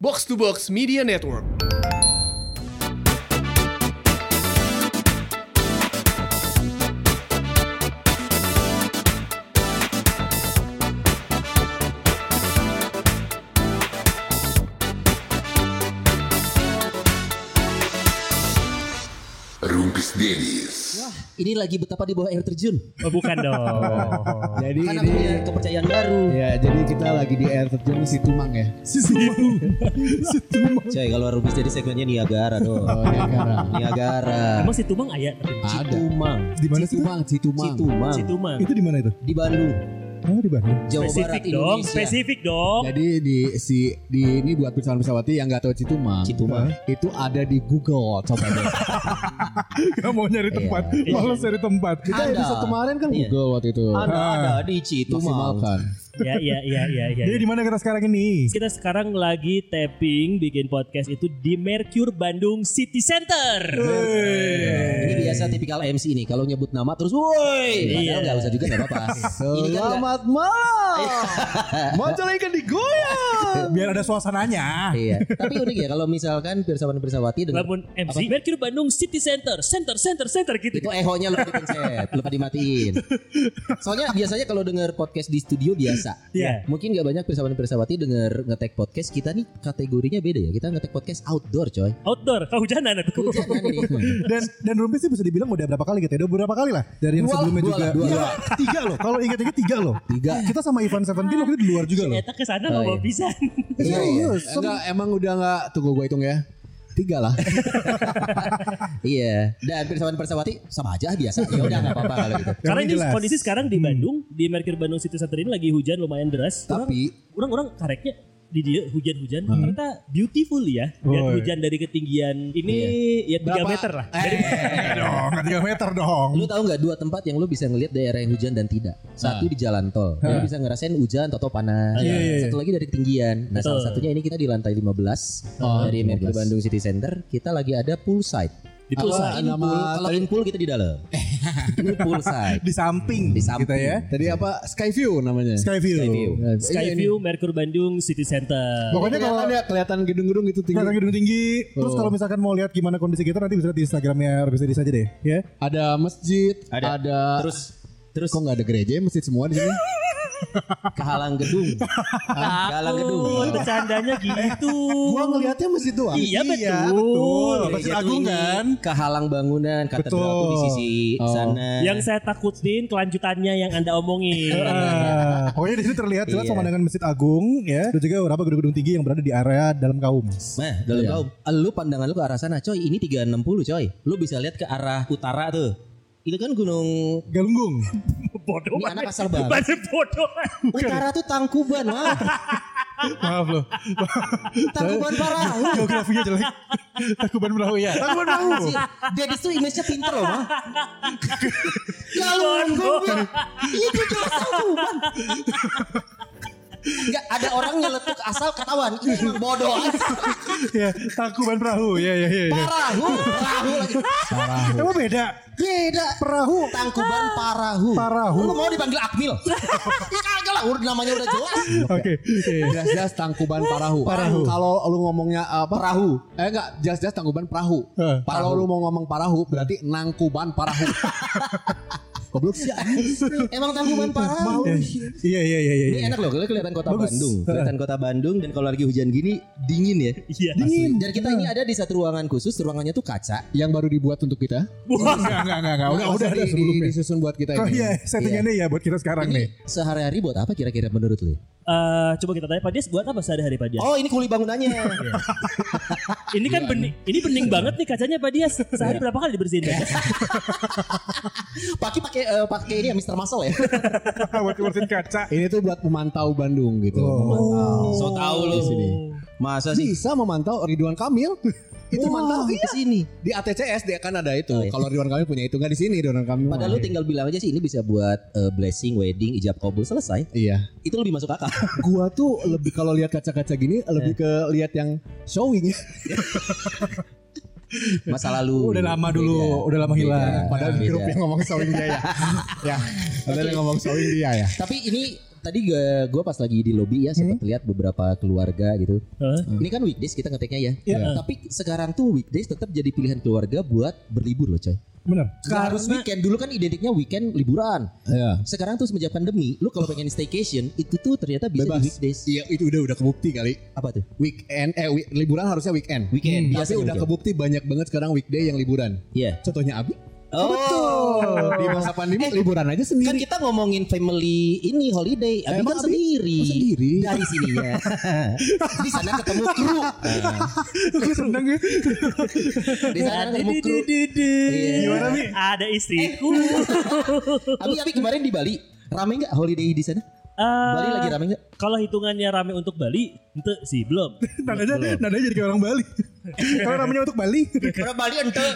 Box to Box Media Network. Rumpis Dennis. Ini lagi betapa di bawah air terjun. Oh, bukan dong. Jadi Karena ini punya kepercayaan baru. ya jadi kita lagi di air terjun Situmang ya. Coy, kalau Rubis jadi segmennya Niagara dong. Oh, Niagara. Niagara. Emang si Tumang ayah tapi. Ada. Citumang. Di mana Situmang? Situmang. Citumang. Si Tumang. Itu di mana itu? Di Bandung, Oh, di Bandung. Jawa Spesifik Barat dong, Indonesia. spesifik dong. Jadi di si di ini buat pesawat pesawati yang nggak tahu Citumang. Citumang. Itu ada di Google. Coba deh. Iya. Gak mau nyari tempat. Iya. Males nyari tempat. Kita Ada. episode kemarin kan Iya. Google waktu itu. Nah, Ada ada di Citumang. Maksimalkan. Ya ya ya ya ya. Jadi di mana kita sekarang ini? Kita sekarang lagi tapping bikin podcast itu di Mercure Bandung City Center. Ini biasa tipikal MC nih kalau nyebut nama terus woi. Padahal Iya. nggak usah juga nggak apa-apa. Ini kan nggak- Selamat malam. Muncul ikan digoyang. Biar ada suasananya. Iya. Tapi unik ya kalau misalkan Pirsawan Pirsawati dengan Walaupun MC Mercure Bandung City Center, center center center gitu. itu ehonya lupa dipencet, lupa dimatiin. Soalnya biasanya kalau denger podcast di studio biasa. Iya. Mungkin nggak banyak pirsawan-pirsawati denger ngetek podcast kita nih kategorinya beda ya. Kita ngetek podcast outdoor coy. Kan Outdoor, kehujanan aku. Hujanan nih. Dan dan Rumpis sih bisa dibilang udah berapa kali gitu ya? Udah berapa kali lah dari yang Dua lah, sebelumnya dua juga. lah, dua Iya, lah. tiga loh. Kalau ingat-ingat tiga loh. Tiga. Kita sama Ivan Seventeen waktu itu di luar juga loh. Eta ke sana Oh, nggak mau iya. pisan. Serius. Serius. Enggak emang udah nggak tunggu gue hitung ya. Tiga lah. iya. Dan pirsawan-pirsawati sama aja biasa. Ya udah nggak apa-apa kalau gitu. Karena ini jelas. kondisi sekarang di Bandung, di Mercure Bandung City Center ini lagi hujan lumayan deras. Orang- Tapi orang-orang kareknya di dia hujan-hujan ternyata beautiful ya lihat Woy. hujan dari ketinggian ini ya 3 meter lah dari Eh dong, nggak tiga meter dong. Lu tahu nggak dua tempat yang lu bisa ngelihat daerah yang hujan dan tidak? Satu di jalan tol, lu bisa ngerasain hujan atau panas. Nah. Iya, iya, iya. Satu lagi dari ketinggian. Nah, salah Betul. satunya ini kita di lantai 15 Oh, dari Mercure Bandung City Center. Kita lagi ada poolside. di pulsa Apa? In Nama pool, kalau in pool kita di dalam. ini poolside. Di samping. Di samping. Kita ya. tadi apa Skyview namanya? Skyview. Skyview. Nah, ini- Skyview Mercure Bandung City Center Pokoknya kalau kelihatan ya kelihatan gedung-gedung itu tinggi. Kelihatan gedung tinggi. Terus Oh. kalau misalkan mau lihat gimana kondisi kita nanti bisa lihat di Instagramnya Rumpis Edis aja deh. Ya. Ada masjid, Ada. ada, Terus terus kok nggak ada gereja ya masjid semua di sini? Iya. kehalang gedung. Kehalang gedung. Oh, bercandanya gitu Gua ngelihatnya masjid doang. iya betul, betul. Gereja Masjid tuh Agung ini kan? Kehalang bangunan, katedral tuh di Betul. Iya, sisi Oh. sana. yang saya takutin kelanjutannya yang anda omongin Eh, pokoknya di sini terlihat jelas Iya. pemandangan Masjid Agung ya. Dan juga beberapa gedung-gedung tinggi yang berada di area dalam kaum. Nah, dalam kau, lu pandangan lu ke arah sana, coy. Ini 360, coy. Lu bisa lihat ke arah utara tuh. Itu kan gunung Galunggung. bodoh Ini anak kasar banget. Mana bodoh utara tuh Tangkuban, wah. Maaf loh. Tangkuban parah. Geografinya jelek. Takuban Merahu ya. Takuban Merahu. Si Dedis tuh image-nya pinter loh, mah. Kalau gue bilang, itu jelas Tangkuban. Enggak ada orang nyeletuk asal ketahuan. Ini emang bodoh aja. ya, Takuban Perahu. Ya, ya, ya. ya. Parahu, parahu lagi. Emang beda. Beda. Perahu. Tangkuban parahu. Parahu. Lu mau dipanggil Akmil? ya kagak lah, udah namanya udah jelas. Oke. Jelas-jelas Tangkuban Parahu. Parahu. Kalau lu ngomongnya apa? Parahu. Eh enggak, jelas-jelas Tangkuban Parahu. Hah. Kalau lu mau ngomong Parahu berarti Eh. Nangkuban Parahu. Goblok sih. Emang Tangkuban parahu. Iya, iya, iya, iya. Ini enak loh, kalau kelihatan kota Bagus. Bandung. Kelihatan kota Bandung dan kalau lagi hujan gini dingin ya. iya Dingin. Dan kita ini ada di satu ruangan khusus, ruangannya tuh kaca. Yang baru dibuat untuk kita. Enggak, enggak, enggak, enggak. Ah, Udah, Masa udah ada di- di- sebelumnya. disusun buat kita Oh ini. iya, settingannya ya buat kita sekarang nih. Ini sehari-hari buat apa kira-kira menurut lu? Eh, coba kita tanya Pak Dias buat apa sehari-hari Pak Dias? Oh ini kuli bangunannya. ini kan bening, ini bening banget nih kacanya Pak Dias. Sehari berapa kali dibersihin? Pak? Pakai pakai eh, pakai ini ya Mr. Muscle ya. buat ngurusin kaca. Ini tuh buat memantau Bandung gitu. Oh. Memantau. So tau lu. Di sini. Masa sih? Bisa memantau Ridwan Kamil. Itu mantau Wah, ke iya. sini. Di ATCS dia kan ada itu. Oh, iya. Kalau Ridwan Kamil punya itu nggak di sini Ridwan Kamil. Padahal lu tinggal bilang aja sih ini bisa buat eh, blessing, wedding, ijab kabul selesai. Iya. Itu lebih masuk akal. Gua tuh lebih kalau lihat kaca-kaca gini Iya. lebih ke lihat yang showing. Masa lalu. Oh, Udah lama dulu, Iya. udah lama hilang. Padahal Padahal di grup yang ngomong showing dia ya. ya. Padahal yang ngomong showing dia ya. Tapi ini tadi gue, gue pas lagi di lobby ya sempat lihat beberapa keluarga gitu. Hah? Ini kan weekdays kita ngeteknya ya. Iya. Tapi sekarang tuh weekdays tetap jadi pilihan keluarga buat berlibur loh coy. Bener. Nggak harus weekend dulu kan identiknya weekend liburan. Iya. Sekarang tuh semenjak pandemi, lu kalau pengen staycation itu tuh ternyata bisa Bebas. di weekdays. Iya itu udah udah kebukti kali. Apa tuh? Weekend eh wi- liburan harusnya weekend. Weekend, Tapi biasanya udah weekend. kebukti banyak banget sekarang weekday yang liburan. Iya. Contohnya Abi. Oh, Di masa pandemi liburan aja Kan sendiri. kita ngomongin family ini holiday, Abi Emang kan Abi? sendiri. Oh, sendiri. Dari sininya. di sana ketemu kru. Gue seneng ya. Di sana ketemu Di- kru. di- di- di- Iya. Gimana, Mi? Ada istriku. Abi, Abi kemarin di Bali, rame nggak holiday di sana? Eh, Bali lagi rame nggak? Kalau hitungannya rame untuk Bali, ente sih belum. Nadanya, nadanya jadi kayak orang Bali. Kalau namanya untuk Bali. Kalau Bali ente.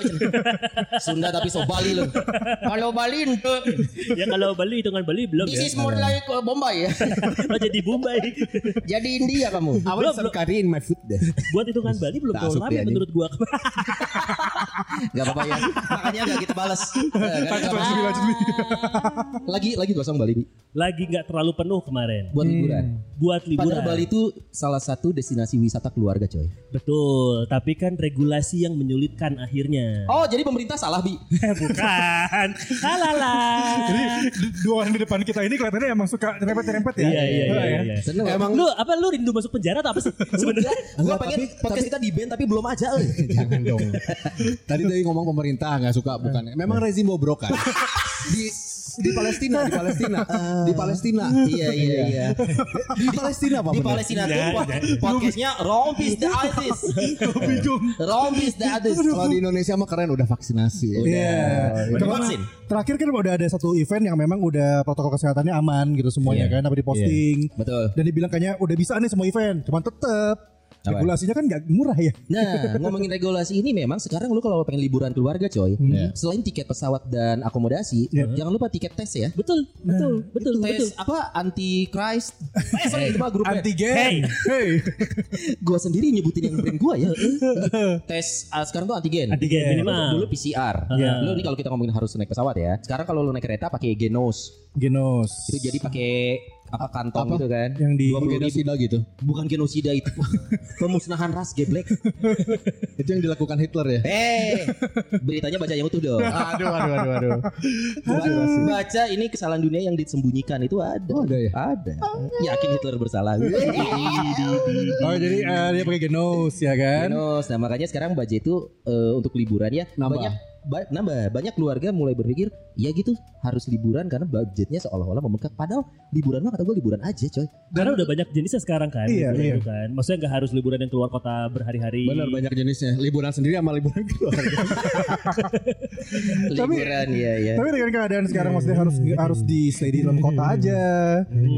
Sunda tapi so Bali loh. Kalau Bali ente. ya kalau Bali hitungan Bali belum ya. This is more like uh, Bombay ya. Oh, jadi Bombay. Jadi India kamu. I Belum, want some curry in my food deh. Buat hitungan Bali belum Nah, terlalu asup rame dia, anjing. menurut gua. Gak apa-apa ya. Makanya gak kita balas. Eh, gak kita balas. lagi lagi kosong Bali Bi. Lagi nggak terlalu penuh kemarin. buat liburan. Buat liburan. Padahal Bali itu salah satu destinasi wisata keluarga coy. Betul, tapi kan regulasi yang menyulitkan akhirnya. Oh jadi pemerintah salah bi. Bukan. Halala. Jadi d- dua orang di depan kita ini kelihatannya emang suka nyerempet-nyerempet ya. Iya, iya, iya, ya. iya. Seneng. Emang Lu apa lu rindu masuk penjara atau apa sih sebenarnya? Gue pengen podcast kita di band tapi belum aja. eh. Jangan dong. Tadi tadi ngomong pemerintah nggak suka Eh. bukan? Memang rezim bobrok kan. Di di Palestina, di Palestina, di Palestina. Eh. iya iya iya. ya. Di Palestina apa? Di bener? Palestina tuh pod- podcastnya rompis the ISIS. Bingung. Rompis the ISIS. Kalau di Indonesia mah keren udah vaksinasi. Iya. Udah Kemana- vaksin? Terakhir kan udah ada satu event yang memang udah protokol kesehatannya aman gitu semuanya Iya. kan, apa diposting. Betul. Iya. Dan dibilang kayaknya udah bisa nih semua event, cuman tetep ya? regulasinya kan gak murah ya. Nah, ngomongin regulasi ini memang sekarang lu kalau pengen liburan keluarga, coy, Ya. selain tiket pesawat dan akomodasi, jangan lupa tiket tes ya. Betul, betul, betul, Tes betul. apa anti Christ? Eh, sorry, itu mah grup band. Antigen. Hey. Hey. Gua sendiri nyebutin yang brand gua ya. Tes ah, sekarang tuh antigen. Antigen minimal. Nah, Dulu PCR. Iya. Lu ini kalau kita ngomongin harus naik pesawat ya. Sekarang kalau lu naik kereta pakai Genos. Genos. Oh, Itu jadi pakai apa kantong Apa? gitu kan. yang di Genosida gitu. Bukan genosida itu. Pemusnahan ras geblek. Itu yang dilakukan Hitler ya. Eh, beritanya baca yang utuh dong. Aduh, aduh, aduh, aduh. Baca ini kesalahan dunia yang disembunyikan itu ada. Oh, ada ya? Ada. Yakin Hitler bersalah. Oh jadi eh, dia pakai genos ya kan? Genos. Nah makanya sekarang Baja itu eh, untuk liburan ya Nambah. banyak ba- nambah banyak keluarga mulai berpikir ya gitu harus liburan karena budgetnya seolah-olah membengkak. Padahal liburan mah kata gue liburan aja coy. Karena udah banyak jenisnya sekarang kan, Iya, liburan iya. itu kan. Maksudnya nggak harus liburan yang keluar kota berhari-hari. Bener banyak jenisnya. Liburan sendiri sama liburan keluarga. liburan ya Iya. ya. Tapi dengan keadaan sekarang maksudnya harus harus di stay di dalam Hmm. kota aja,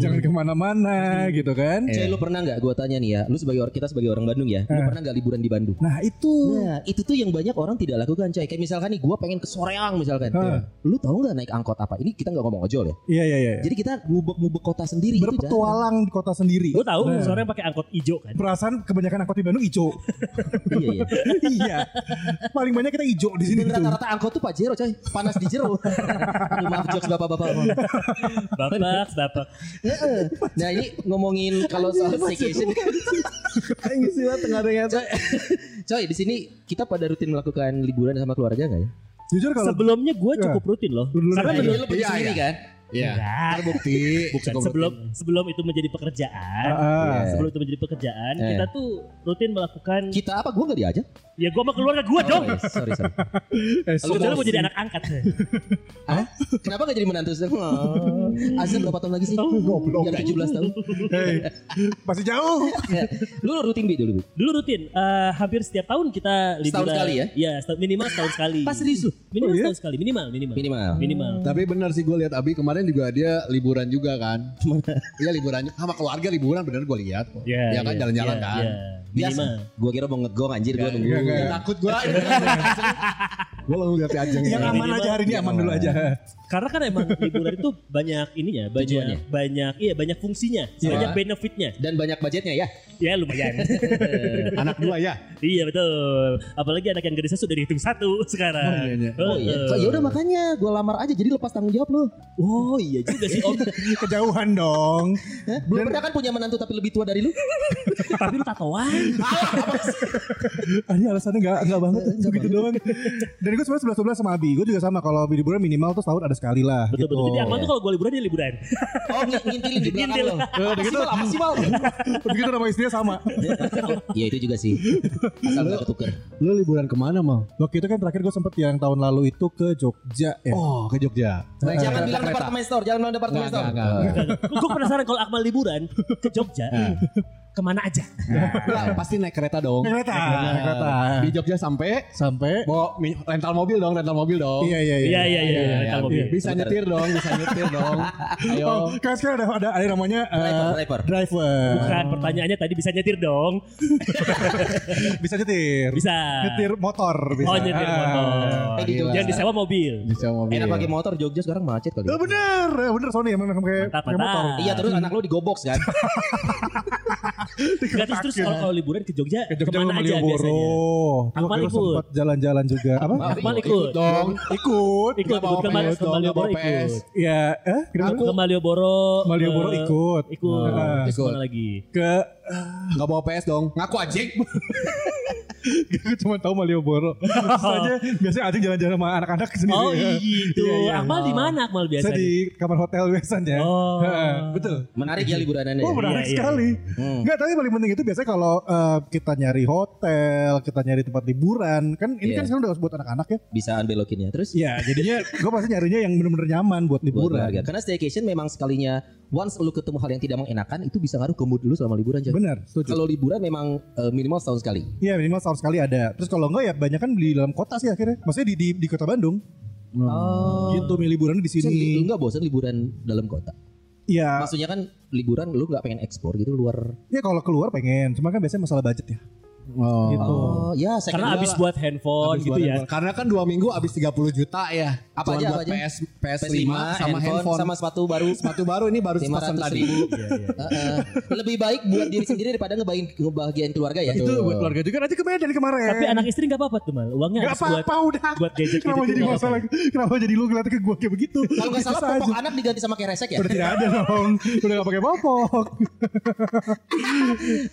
jangan kemana-mana gitu kan? Eh. Coy lu pernah nggak gue tanya nih ya, lu sebagai orang kita sebagai orang Bandung ya, lu pernah nggak liburan di Bandung? Nah itu Nah, itu tuh yang banyak orang tidak lakukan, coy. Kayak misalkan nih, gua pengen ke Soreang misalkan. Nah, Hah. Lu tahu nggak naik angkot apa? Ini kita nggak ngomong ojol ya. iya iya iya. Jadi kita ngubek-ngubek kota sendiri. gitu, itu jangan. Berpetualang di kota sendiri. Nah. Lu tahu sore pakai angkot ijo kan? Perasaan kebanyakan angkot di Bandung hijau. Iya, iya. iya. Paling banyak kita hijau di sini Dan tuh. rata-rata angkot tuh pajero coy. Panas di jero. Aduh, maaf jokes bapak-bapak. Bapak, bapak. Heeh. nah ini ngomongin kalau soal staycation. coy, coy di sini kita pada rutin melakukan liburan sama keluarga nggak ya? Jujur kalau Nah. Sebelumnya gue cukup rutin loh. Lu dulu Karena dulu. menurut Lu pergi Iya, sendiri iya. kan? Iya. Enggak. Terbukti. Bukan Cukup sebelum rutin. sebelum itu menjadi pekerjaan. Ah, Iya. Sebelum itu menjadi pekerjaan, Eh. kita tuh rutin melakukan Kita apa? Gua nggak diajak? ya gua sama keluarga gua dong. Oh, sorry, sorry. eh, Lu sebelum- mau jadi anak angkat. Kenapa gak jadi menantu? Azam berapa tahun lagi sih? Oh, Yang 17 tahun. Iya. Hei, masih jauh. Lu rutin bi dulu bi. Dulu rutin eh, hampir setiap tahun kita liburan. Setahun sekali ya? Iya, seta- minimal setahun sekali. Pas serius lu? Minimal Oh, iya? setahun sekali, minimal, minimal. Minimal. Minimal. Tapi benar sih gue lihat Abi kemarin juga dia liburan juga kan. Iya liburan sama keluarga liburan bener gue lihat. Iya, Iya kan iya, jalan-jalan iya, kan. iya. Biasa. Minimal. Gua kira mau ngegong anjir gua nunggu. Gak, takut gue. gue langsung lihat Iya, ajeng. Yang aman aja hari ini aman dulu aja. Karena kan emang liburan itu banyak ininya, banyak Tujuannya. banyak iya banyak fungsinya, banyak benefitnya. Dan banyak budgetnya ya. Ya lumayan. Anak dua ya. iya betul. Apalagi anak yang gadisnya sudah dihitung satu sekarang. Oh, iya, iya. Oh iya. Heeh. So, ya udah makanya gua lamar aja jadi lepas tanggung jawab lu. Wow. Oh iya juga sih Om. Kejauhan dong. Hah? Belum pernah kan punya menantu tapi lebih tua dari lu? Tapi lu tatoan. Ah, Ini alasannya gak, gak banget Begitu doang Dan gue sebenernya sebelah-sebelah sama Abi Gue juga sama Kalau liburan minimal tuh setahun ada sekali lah Betul betul. Jadi gitu. Akmal tuh kalau gue liburan dia liburan. Oh ng- ngintilin di belakang Ngintil. lo. Ya, udah gitu Apa sih mal? Begitu nama istrinya sama Iya itu juga sih. Asal gak ketuker. Lu liburan kemana mal? Waktu itu kan terakhir gue sempet yang tahun lalu itu ke Jogja ya Oh ke Jogja. Nah, Jangan bilang departemen store, jangan bilang departemen Enggak, store. enggak, enggak. gue penasaran kalau Akmal liburan ke Jogja. Ah. kemana aja? Lah, pasti naik kereta dong. Naik kereta. Naik kereta. Di Jogja sampai Sampai Bo, mi- rental mobil dong, rental mobil dong. Iya iya iya Iya iya iya. Iya, iya, kalau iya. mobil. Bisa nyetir dong, bisa nyetir dong. Ayo. Oh, kan sekarang ada ada, ada namanya eh, Driver, driver. driver. Bukan pertanyaannya tadi bisa nyetir dong. Bisa nyetir. Bisa. Nyetir motor bisa. Oh nyetir Ah. motor. Eh, gitu, di Jogja Yang disewa mobil. Bisa mobil. Enak pakai motor Jogja sekarang macet kali. Eh, bener, eh, bener Sony emang kayak Mantap, kayak motor. mantap. Iya terus anak lo digobox kan. Nggak, terus terus kalau, kalau liburan ke Jogja, Ke Jogja kemana aja biasanya? Akmal Aku ikut. sempat jalan-jalan juga. Apa? Akmal Ikut ikut. dong. Ikut Ikut. ikut ke Mal- ke PS dong, Malioboro nggak bawa ikut. PS. Iya, eh kenapa? Ke Malioboro. Malioboro eh, ikut. Ikut. Nah, Terus ikut. kemana lagi? Ke Enggak bawa PS dong. Ngaku anjing. gue cuma tahu Malioboro. Biasanya biasanya anjing jalan-jalan sama anak-anak sendiri. Oh ya. gitu. Iya, iya. Akmal di mana Akmal Saya biasanya? di kamar hotel biasanya. Oh. Heeh, Betul. Menarik ya liburan anda. Oh ya? menarik iya, iya. sekali. Hmm. Enggak, tapi paling penting itu biasanya kalau eh, kita nyari hotel, kita nyari tempat liburan, kan ini Iya. kan sekarang udah buat anak-anak ya. Bisa belokin ya terus. Iya, jadinya gue pasti nyarinya yang bener-bener nyaman buat buat liburan. keluarga. Karena staycation memang sekalinya once lu ketemu hal yang tidak mengenakan itu bisa ngaruh ke mood lu selama liburan aja. Bener, setuju. Kalau liburan memang eh, minimal setahun sekali. Iya minimal setahun sekali ada. Terus kalau enggak ya banyak kan beli dalam kota sih akhirnya. Maksudnya di di, di kota Bandung. Oh. Gitu milih liburan di Jadi lu sini. nggak bosan liburan dalam kota? Iya, Maksudnya kan liburan lu nggak pengen explore gitu luar. ya kalau keluar pengen. Cuma kan biasanya masalah budget ya. Oh. Gitu. Oh, ya second Karena hand habis lah. buat handphone Habis gitu buat ya. handphone. Karena kan 2 minggu habis 30 juta ya. Apa Cuman aja, buat apa aja? PS PS5, PS5 sama handphone. sama sepatu baru. Sepatu baru ini baru pesan 500 tadi. Eh. Iya, ribu. Heeh. Lebih baik buat diri sendiri daripada ngebahagiain, ngebahagiain keluarga ya. Itu buat keluarga juga nanti ke Medan kemarin. Tapi anak istri gak apa-apa tuh mal. Uangnya Gak harus buat apa-apa udah. buat gadget Kenapa gitu jadi tuh nggak masalah? Kenapa jadi lu ngeliatnya ke gua kayak begitu? Kalau nggak salah Biasa popok aja. anak diganti sama kayak resek ya. Udah tidak ada dong. Udah gak pakai popok.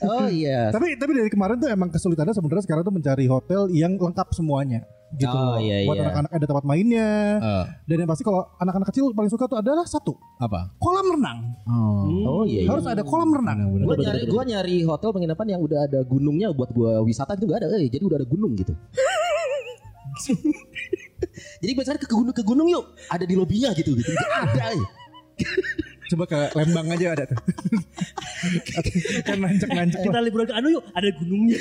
Oh iya. tapi tapi dari kemarin tuh emang kesulitannya sebenarnya sekarang tuh mencari hotel yang lengkap semuanya. Gitu. Oh, loh. iya, buat iya. anak-anak ada tempat mainnya. Eh, Dan yang pasti kalau anak-anak kecil paling suka tuh adalah satu. apa? Kolam renang. Oh. Oh iya. iya. Harus ada kolam renang. Gue nyari, gua nyari hotel penginapan yang udah ada gunungnya buat gua wisata itu gak ada. Eh, jadi udah ada gunung gitu. jadi biasanya ke gunung ke gunung yuk. Ada di lobinya gitu gitu. Nggak ada. eh. Coba ke Lembang aja ada tuh. kan nancek-nancek Kita liburan ke anu yuk, ada gunungnya.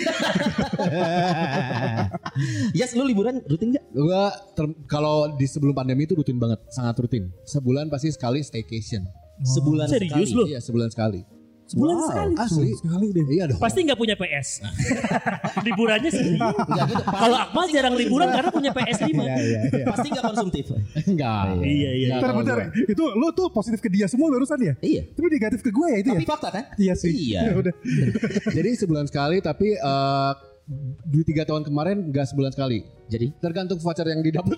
Yes, lu liburan rutin gak? Gue kalau di sebelum pandemi itu rutin banget, sangat rutin. Sebulan pasti sekali staycation. Sebulan Serius lu? sekali. Iya, sebulan sekali. Sebulan sekali. Asli. sekali deh. Iya dong. Pasti nggak punya PS. Liburannya sendiri. Nggak gitu. Pasti, Kalau Akmal jarang liburan karena punya PS5. Iya, iya, iya. pasti gak konsumtif. Enggak. Iya, iya. Enggak Bentar, kalau bentar. gua. Itu lu tuh positif ke dia semua barusan ya? iya. Tapi negatif ke gue ya itu ya? Tapi fakta kan? Iya sih. Iya. Ya udah. Jadi sebulan sekali tapi eh dua tiga tahun kemarin enggak sebulan sekali. Jadi Tergantung voucher yang didapat.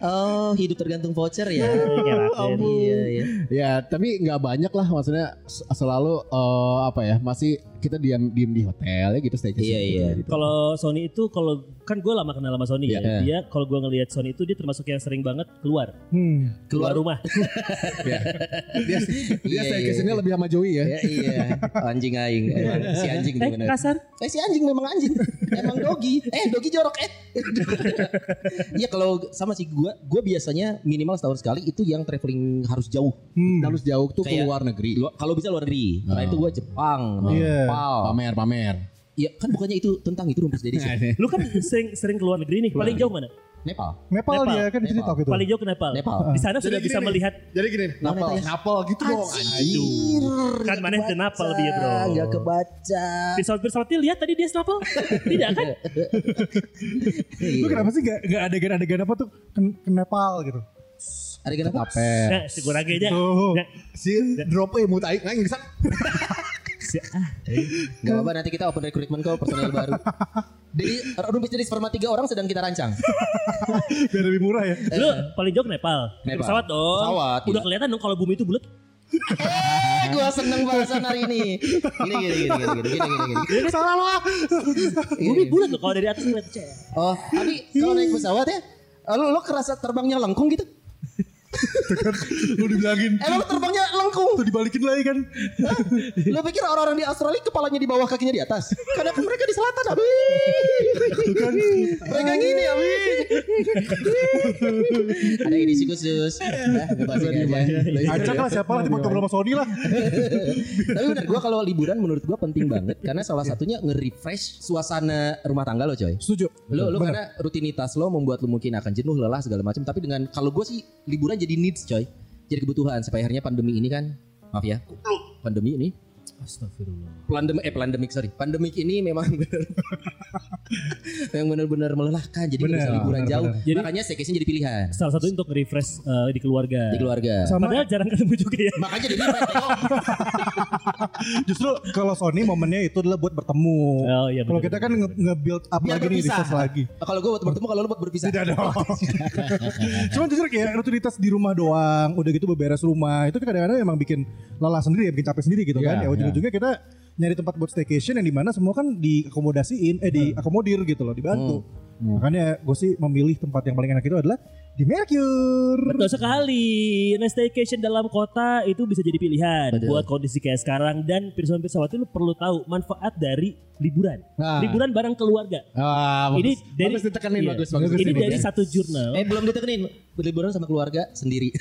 oh hidup tergantung voucher ya. Iya, Raden. iya iya. ya, tapi enggak banyak lah maksudnya s- selalu eh, apa ya? Masih kita diam diam di hotel ya gitu staycation. Iya, gitu, iya. gitu. Kalau Sony itu kalau kan gue lama kenal sama Sony Iya. ya. Dia kalau gue ngelihat Sony itu dia termasuk yang sering banget keluar Hmm. Keluar keluar rumah. Iya. dia Iya, dia iya, staycationnya iya. lebih sama Joey ya. Ya, iya, anjing aing. Emang si anjing tuh Eh bener. kasar. Eh si anjing memang anjing. Emang dogi. Eh dogi jorok eh. Iya kalau sama sih gua gua biasanya minimal setahun sekali itu yang traveling harus jauh. Hmm. Harus jauh tuh ke Kayak- luar negeri. Lu- Kalau bisa luar negeri. Karena Oh. itu gua Jepang, Iya. Nah. Nepal. Pamer, pamer. Iya kan bukannya itu tentang itu rumpus jadi Lu kan sering sering keluar negeri nih. Paling jauh mana? Nepal. Nepal, Nepal. dia kan di sini Nepal. tau gitu. Paling jauh ke Nepal. Nepal. Di sana sudah Jadi bisa gini nih. melihat Jadi gini, Napal. napal gitu dong. Anjir. Kan maneh kebaca. teu napal dia, bro. Nggak kebaca. di South Beach South Hill, lihat tadi dia snapple. Tidak Iya. kan? Lu kenapa sih gak, gak adegan-adegan apa tuh ke, ke Nepal gitu? Oh, Ada kenapa? Pamer. Nah, segera aja. Iya. aja. Tuh. Nah, Si drop eh mut aing aing bisa. si- ah. Gak apa-apa nanti kita open recruitment kok personel baru. Jadi rumpis dari sperma tiga orang sedang kita rancang. Biar lebih murah ya. Lu paling jauh ke Nepal. Naik Nepal. Pesawat dong. Pesawat, Udah iya. kelihatan dong kalau bumi itu bulat. eh, gua seneng bahasan hari ini. Gini gini gini gini gini gini gini. gini. Salah lo. ah. Iya, Bumi iya. bulat loh kalau dari atas ngeliat cewek. Oh, tapi kalau naik pesawat ya, lo, lo kerasa terbangnya lengkung gitu? Lu dibilangin. Eh, lo terbangnya lengkung. Tuh dibalikin lagi kan. Hah? Lo pikir orang-orang di Australia kepalanya di bawah kakinya di atas? Karena kan mereka di selatan, abi. mereka gini, abi. Ada edisi khusus. Nah, bebasin aja. Acak lah siapa lah di foto sama Sony lah. Tapi benar gua kalau liburan menurut gua penting banget karena salah Iya. satunya nge-refresh suasana rumah tangga lo, coy. Setuju. Lo lo Bener. karena rutinitas lo membuat lo mungkin akan jenuh, lelah segala macam, tapi dengan kalau gua sih liburan jadi needs, coy. Jadi kebutuhan supaya akhirnya pandemi ini kan maaf ya. Pandemi ini Astagfirullah. pandemi eh pandemik sorry. Pandemik ini memang benar yang benar-benar melelahkan jadi nggak bisa Bener, liburan bener, jauh. bener. Jadi- Makanya staycation jadi pilihan Salah satunya untuk nge-refresh eh, di keluarga. Iya. di keluarga. Sama Padahal jarang ketemu juga ya. Makanya jadi tengok. justru kalau Sony momennya itu adalah buat bertemu. Oh iya Kalau bener. kita kan nge- nge-build up Biar lagi nih berpisah. resource lagi. Kalau gue buat bertemu kalau lo buat berpisah. Tidak dong. Cuma justru kayak rutinitas di rumah doang, udah gitu beberes rumah, itu kadang-kadang emang bikin lelah sendiri ya, bikin capek sendiri gitu kan. Iya, Ya ujung-ujungnya kita nyari tempat buat staycation yang dimana semua kan diakomodasiin, eh diakomodir gitu loh, dibantu. Makanya gue sih memilih tempat yang paling enak itu adalah di Mercure. Betul sekali. Nah, staycation dalam kota itu bisa jadi pilihan Betul. buat kondisi kayak sekarang dan pirsawan-pirsawan itu lu perlu tahu manfaat dari liburan. Nah. Liburan bareng keluarga. Ah, Ini bagus. dari- bagus ditekenin iya. bagus Iya. bagus. Ini bagus. dari satu jurnal. Eh belum ditekenin Berliburan sama keluarga sendiri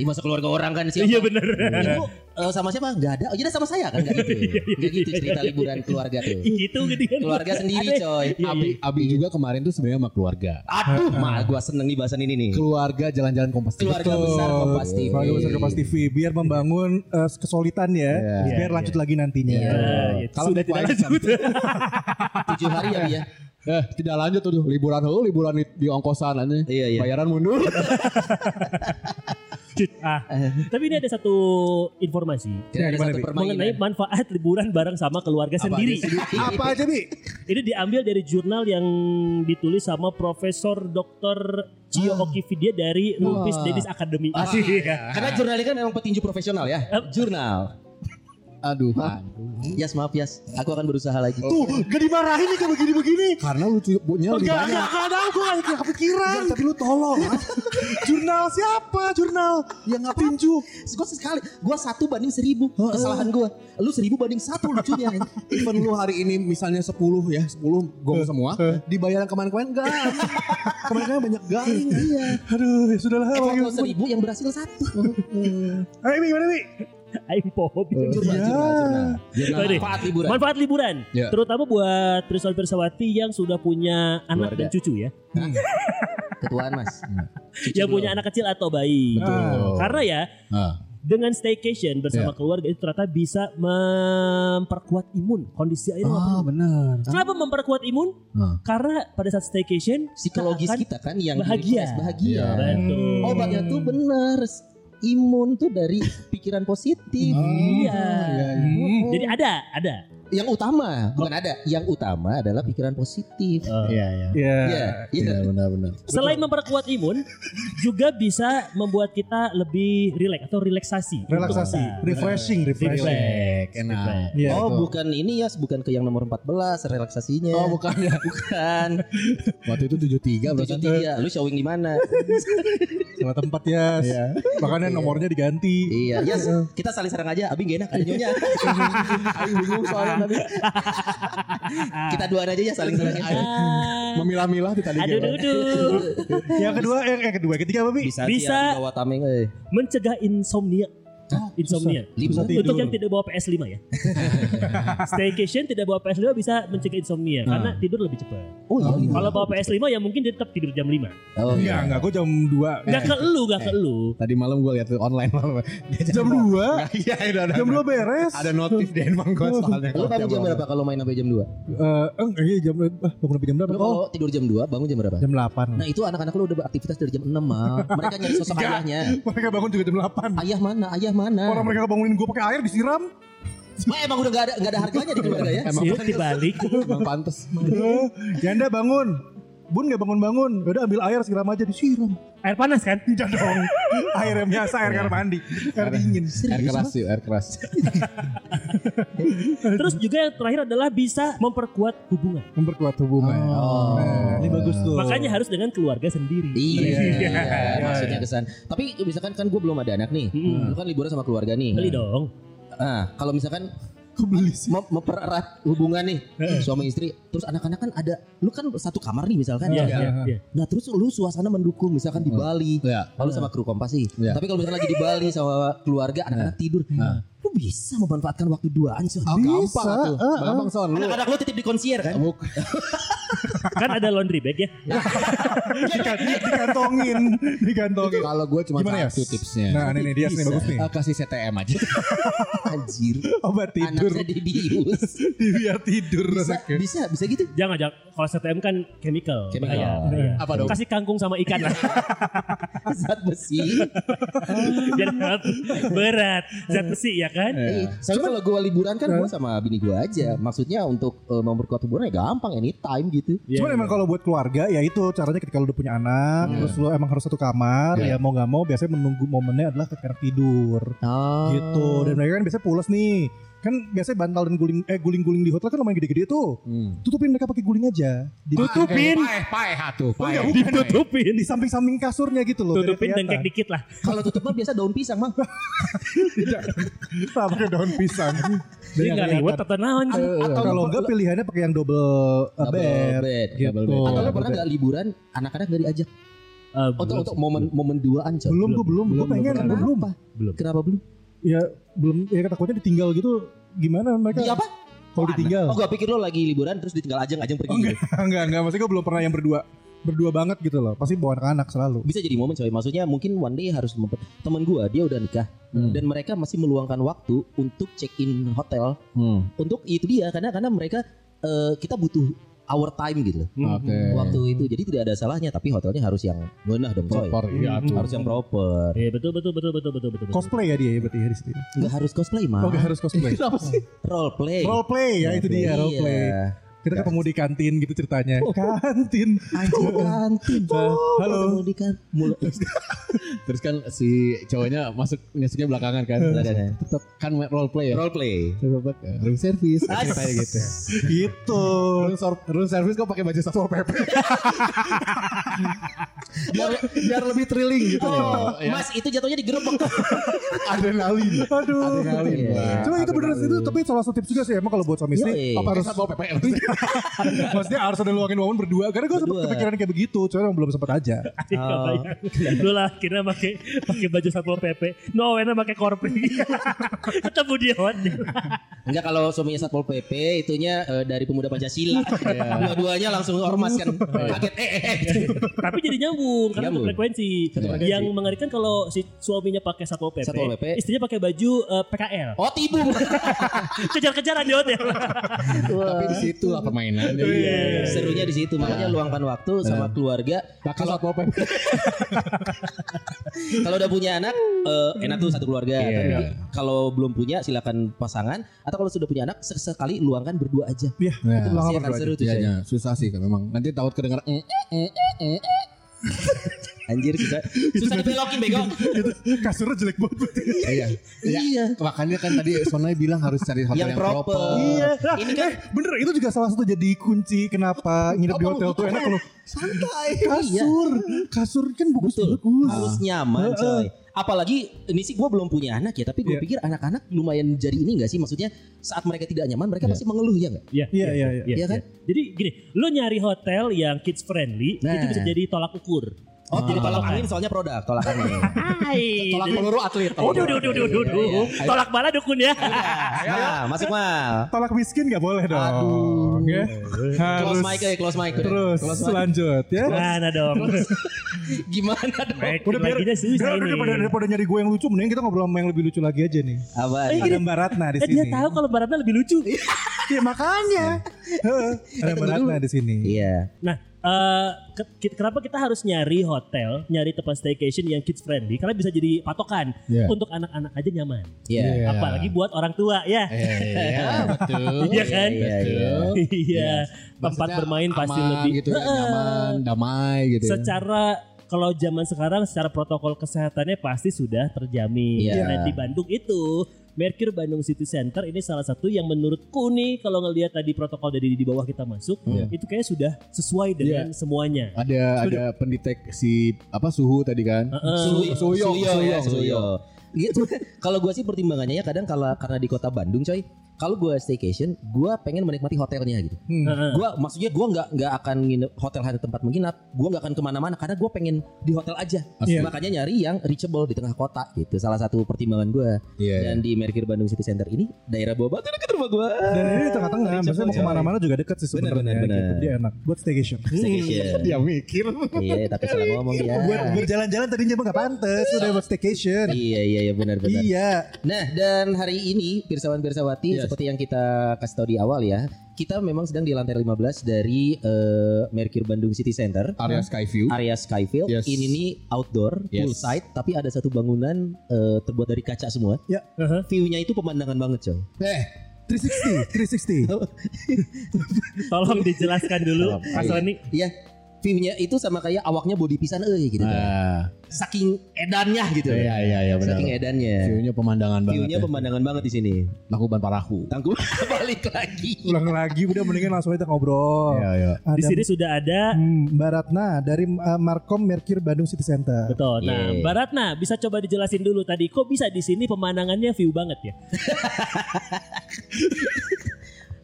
Ih masa keluarga orang kan siapa Iya bener. Ibu eh, sama siapa? Gak ada Oh jadi sama saya kan Gak gitu Gak gitu cerita liburan keluarga tuh Gitu gitu kan. Keluarga sendiri Ada- coy Iya, Abi Abi juga kemarin tuh sebenarnya sama keluarga. Aduh mah gua seneng nih bahasan ini nih Keluarga jalan-jalan kompas. TV. Keluarga besar Kompas TV Keluarga besar Kompas TV biar membangun eh, kesolidan ya, Iya. biar lanjut lagi nantinya. Iya, iya. Oh, Kalau sudah di tidak Kuala lanjut. Tujuh hari ya Bi, ya Eh, tidak lanjut tuh liburan oh, liburan di, di ongkosan aja. Iya, iya. Bayaran mundur. ah. Tapi ini ada satu informasi Tidak ada Gimana, satu Bi? mengenai permainan manfaat liburan bareng sama keluarga sendiri. Apa aja bi? Ini diambil dari jurnal yang ditulis sama Profesor Dr. Cio Ah. Okividia dari Rumpis Dedis Academy. Asik. Karena jurnal ini kan memang petinju profesional ya Jurnal Aduh. Hah? aduh. Yas maaf Yas Aku akan berusaha lagi Tuh, gak dimarahin nih kayak begini-begini. Karena lucu punya lebih Enggak, banyak. enggak, enggak, gue gak kepikiran. tapi lu tolong. jurnal siapa? Jurnal yang nggak tinju. Gue sekali Gue satu banding seribu Kesalahan gue Lu seribu banding satu lucunya Even lu hari ini misalnya 10 ya, 10 gong Eh, semua, dibayaran kemarin-kemarin enggak. Kemarin-kemarin banyak garing. Iya. Aduh, ya sudahlah. Eh lagi kalau seribu yang berhasil satu Ayo, Bi, gimana, Bi? Aing pohon. Oh. Jurnal, Iya. jurnal, jurnal. Jurnal. Tadi. Manfaat liburan. Manfaat liburan, Ya. terutama buat Priswan Persawati yang sudah punya anak Keluarga. dan cucu ya, Ketuaan mas. Cucu yang dulu. punya anak kecil atau bayi. Betul. Karena ya Ah, Ya. dengan staycation bersama keluarga itu ternyata bisa memperkuat imun kondisi air. ah benar. Kenapa memperkuat imun? Ah. Karena pada saat staycation Psikologis akan- kita kan yang bahagia. di-refresh, bahagia. Iya. Betul. Obatnya tuh bener. Imun tuh dari pikiran positif. Iya. Hmm, Hmm. Mm-mm. Jadi ada, ada. yang utama bukan ada. Yang utama adalah pikiran positif. Iya, iya. Iya. Iya. Iya, Iya. benar benar. Selain memperkuat imun, juga bisa membuat kita lebih rileks atau relaksasi. Relaksasi, Untuk kita. refreshing, refreshing. Relax, enak. Iya. oh betul. bukan ini ya, bukan ke yang nomor 14 relaksasinya. Oh, bukan ya. bukan. Waktu itu 73 berarti. 73. Lu showing di mana? Salah tempat ya. Iya. Makanya nomornya diganti. iya. Yes, kita saling serang aja. Abi gak enak ada nyonya. Abi bingung soalnya tadi. kita duaan aja ya saling serang. aja. Ah. Memilah-milah di tadi. Aduh, aduh, aduh. Yang kedua, yang, yang kedua, ketiga apa, Bi? Bisa, Bisa. Tia, di bawah tameng eh. Mencegah insomnia. insomnia. Libur. Susah Untuk tidur. yang tidak bawa PS5 ya. Staycation tidak bawa PS5 bisa mencegah insomnia karena tidur lebih cepat. Oh iya. libur. Kalau bawa PS5 ya mungkin dia tetap tidur jam 5. Oh Enggak, enggak, gue jam 2. Gak ke elu, gak ke elu. Tadi malam gue lihat online malam. Dia Jam 2? Iya, udah, udah, Jam udah. 2 beres. Ada notif di handphone gue soalnya. Lu bangun jam berapa kalau main sampai jam 2? Eh, eng, iya jam ah, bangun lebih jam berapa? Lu Oh, kalau tidur jam 2 bangun jam berapa? jam 8. Nah itu anak-anak lu udah beraktivitas dari jam 6 mal. Mereka nyari sosok ayahnya. Mereka bangun juga jam 8. Ayah mana? Ayah mana? Orang mereka bangunin gue pakai air disiram. Mak emang udah gak ada gak ada harganya di keluarga ya. Emang Siut dibalik. Emang pantes. Janda Ya bangun. Bun gak bangun-bangun. Ya Udah ambil air siram aja disiram. Air panas kan? Tidak dong. air yang biasa, air kamar mandi. Air dingin. Air keras yuk, air keras. Terus juga yang terakhir adalah bisa memperkuat hubungan. Memperkuat hubungan. Oh. Nah, ini bagus tuh. Makanya harus dengan keluarga sendiri. Iya, Iya. maksudnya kesan. Tapi misalkan kan gue belum ada anak nih. Hmm. Iya. Lu kan liburan sama keluarga nih. Beli dong. Ah, kalau misalkan Aku beli sih. mem- mempererat hubungan nih suami istri, terus anak-anak kan ada, lu kan satu kamar nih misalkan. Iya, ya. iya, iya. Nah terus lu suasana mendukung misalkan di Bali, Ya. lalu sama kru kompas sih. Iya. Tapi kalau misalkan lagi di Bali sama keluarga, anak-anak tidur, Iya. lu bisa memanfaatkan waktu duaan sih. Ah, Bisa, gampang tuh. ah, ah. Gampang soal lu. Anak-anak lu titip di konsier kan? Nah. Buk- Kan ada laundry bag ya. Dikantongin. Dikantongin. Kalau gue cuma Gimana ya? satu tipsnya. Nah, ini nih, dia nih Bisa. bagus nih. Eh, kasih CTM aja. Anjir, Obat tidur. anaknya dibius. Dibiar tidur. Bisa, anaknya. bisa, bisa gitu. Jangan jangan. Kalau STM kan chemical. Chemical. Iya. Bahaya. Iya. Apa dong? Kasih kangkung sama ikan lah. Zat besi. Biar berat. berat. Zat besi ya kan? Iya. Soalnya kalau gue liburan kan gue sama bini gue aja. Maksudnya untuk eh, memperkuat hubungan ya gampang anytime gitu. Cuman emang kalau buat keluarga ya itu caranya ketika lu udah punya anak Iya. terus lu emang harus satu kamar Iya. ya mau nggak mau biasanya menunggu momennya adalah ketika anak tidur Ah. gitu dan mereka kan biasanya pulas nih kan biasanya bantal dan guling eh guling-guling di hotel kan lumayan gede-gede tuh Hmm. tutupin mereka pakai guling aja Oh, iya, Tutupin. Paeh, paeh hatuh, paeh. Ditutupin. eh. di samping-samping kasurnya gitu loh biar Tutupin kelihatan. dengkek dikit lah. Kalau tutup mah biasa daun pisang mang. Nah, pakai daun pisang Dia nggak kelihatan. liwat atau naon. A- atau kalau enggak pilihannya pakai yang double, uh, bed bed. gitu. Atau double bed. lo Double pernah bed. nggak liburan anak-anak dari ajak Eh, untuk belum untuk sih. momen momen duaan coy. belum gue belum gue Belum, pengen belum. gua belum Kenapa? Belum. Kenapa belum? ya belum ya takutnya ditinggal gitu gimana mereka Iya apa? kalau ditinggal Oh gue pikir lo lagi liburan terus ditinggal ajeng ajeng pergi. Oh, enggak, enggak, enggak. Maksudnya gue belum pernah yang berdua berdua banget gitu loh. Pasti bawa anak-anak selalu. Bisa jadi momen coy. Maksudnya mungkin one day harus memper- temen gue dia udah nikah Hmm. dan mereka masih meluangkan waktu untuk check in hotel Hmm, untuk itu dia karena karena mereka eh, kita butuh our time gitu. loh. Hmm. Oke. waktu itu jadi tidak ada salahnya tapi hotelnya harus yang ngenah dong coy Proper, Hmm. iya atuh. harus yang proper Iya betul betul betul betul betul betul. betul. Cosplay ya dia ya berarti ya di situ. nggak harus cosplay mah Oh, nggak harus cosplay. Kenapa sih? role play Role play ya itu dia role play. Iya. Oh, Kita ketemu di kantin gitu ceritanya. Kantin. anjir kantin Halo. Ketemu di kan mulu Terus kan si cowoknya masuk masuknya belakangan kan. Tetap kan role play ya. role play Tetep, eh, Room service ceritanya gitu. gitu. Room, sor- room service kok pakai baju satpol pp. biar, biar lebih thrilling gitu. Oh, loh, ya. Mas itu jatuhnya di gerobak. adrenalin. Aduh. Adrenalin. Iya. Wah, Cuma itu beneran adrenalin. itu tapi salah satu tips juga sih emang kalau buat suami istri Yoi. apa harus satpol pp? maksudnya harus ada luangin momen berdua karena gue sempat Berdua. kepikiran kayak begitu cuman emang belum sempat aja Asik nggak Oh. bayang. Lu lah akhirnya pakai pakai baju satpol pp. No, enak pakai korpri. Ketemu dia hotel. Enggak kalau suaminya Satpol PP itunya eh, dari pemuda Pancasila. Iya. Dua-duanya langsung ormas Oh, kan. Kaget eh eh, eh. Tapi jadi nyambung karena Nyambung. satu frekuensi. Satu frekuensi. Yang mengerikan kalau si suaminya pakai satpol pp, Satpol PP. istrinya pakai baju eh, PKL. Oh tibum. Iya, Kejar-kejaran ya. di hotel. Tapi di situ lah permainannya. Iya. Serunya di situ Iya. makanya luangkan waktu sama keluarga Pakai satpol pp. Kalau udah punya anak eh, enak tuh satu keluarga. Iya. Tapi kalau belum punya silakan pasangan atau kalau sudah punya anak sekali luangkan berdua aja. ya Nah, itu luangin Pasti akan berdua aja. seru tuh. Iya, Shay. iya, susah sih kan memang. Nanti takut kedengeran. "Eh, eh, eh, eh, eh." Anjir susah. Susah dibelokin bego. Itu kasurnya jelek banget Iya. Iya. Iya. Makanya kan tadi Sonai bilang harus cari hotel yang, Yang proper. Iya. Ini kan- eh, bener itu juga salah satu jadi kunci kenapa nginep di hotel tuh enak loh. Santai. Iya. Kasur, kasur kan Betul. bagus-bagus. Harus nyaman coy. Apalagi ini sih gue belum punya anak ya, tapi gue Iya. pikir anak-anak lumayan jadi ini gak sih? Maksudnya saat mereka tidak nyaman mereka pasti mengeluh ya nggak? Iya, Iya, iya, iya. Iya kan? Jadi gini, lu nyari hotel yang kids friendly, Nah. itu bisa jadi tolak ukur. Oh, jadi tolak Iya. angin soalnya produk tolak angin. Hai. Tolak Jadi- peluru atlet. Oh, Udah, udah, udah, udah, udah, udah. Iya, iya. Tolak bala dukun ya. nah, masuk mal. Tolak miskin gak boleh dong. Aduh. ya, Ya. Close Harus mic aja, close mic. udah. terus Close mic. lanjut ya. Mana dong? Gimana dong? Baik, udah laginya susah biar- ini. daripada, daripada nyari gue yang lucu mending kita ngobrol sama yang lebih lucu lagi aja nih. Apa? Eh, Ada Mbak Ratna di Eh, sini. dia tahu kalau baratnya lebih lucu. Iya makanya. Heeh, Ada Mbak Ratna di sini. Iya. Nah, eh, ke- ki- kenapa kita harus nyari hotel, nyari tempat staycation yang kids friendly? Karena bisa jadi patokan Iya. untuk anak-anak aja nyaman. Iya. Iya. Apalagi buat orang tua ya. Iya, betul. Iya kan? Iya, iya. Iya, tempat Maksudnya bermain pasti aman lebih eh, gitu ya, Heeh. nyaman, damai gitu ya. Secara kalau zaman sekarang secara protokol kesehatannya pasti sudah terjamin. Iya. Nah di Bandung itu Mercure Bandung City Center ini salah satu yang menurutku nih kalau ngelihat tadi protokol dari di bawah kita masuk Iya. itu kayaknya sudah sesuai dengan semuanya. Ada ada pendeteksi apa suhu tadi kan? Heeh. Suhu- Suyo, suyong, ya, suyong, Suyo. suyong. Gitu. Kalau gue sih pertimbangannya ya kadang kala, karena di kota Bandung coy. Kalau gue staycation, gue pengen menikmati hotelnya gitu. Hmm. Heeh. Gue maksudnya gue nggak nggak akan nginep hotel hanya tempat menginap. Gue nggak akan kemana-mana karena gue pengen di hotel aja. Iya. Makanya nyari yang reachable di tengah kota gitu. Salah satu pertimbangan gue. Iya. Dan di Mercure Bandung City Center ini daerah bawah batu dekat rumah Iya, gue. Dan ini di tengah-tengah, maksudnya mau kemana-mana juga deket sih Benar, sebenarnya. benar, gitu. benar. Dia enak buat staycation. Ya, Staycation. Dia mikir. Iya, tapi salah ngomong ya. Buat berjalan-jalan tadinya mah gak pantas, udah buat staycation. Iya, iya, iya benar-benar. Iya. Nah, dan hari ini Pirsawan Pirsawati Yes. seperti yang kita kasih tahu di awal ya, kita memang sedang di lantai 15 dari eh, Mercure Bandung City Center, Area Skyview. area Skyfield. Yes. Ini nih outdoor, Yes. poolside, tapi ada satu bangunan eh, terbuat dari kaca semua. Ya. Heeh. View-nya itu pemandangan banget, coy. Eh, 360, 360. Tolong dijelaskan dulu Kenapa? Mas Roni. Iya. View-nya itu sama kayak awaknya body pisan euy gitu. coy. nah, Saking edannya gitu. iya iya iya benar. Saking edannya. View-nya pemandangan banget. View-nya ya. pemandangan banget di sini. Tangkuban Parahu. Tangguh balik lagi. Ulang lagi, udah mendingan langsung aja kita ngobrol. Iya iya. Ada Di sini sudah ada Hmm, Mbak Ratna dari uh, Markom Merkir Bandung City Center. Betul. Nah, Yeay. Mbak Ratna bisa coba dijelasin dulu tadi kok bisa di sini pemandangannya view banget ya?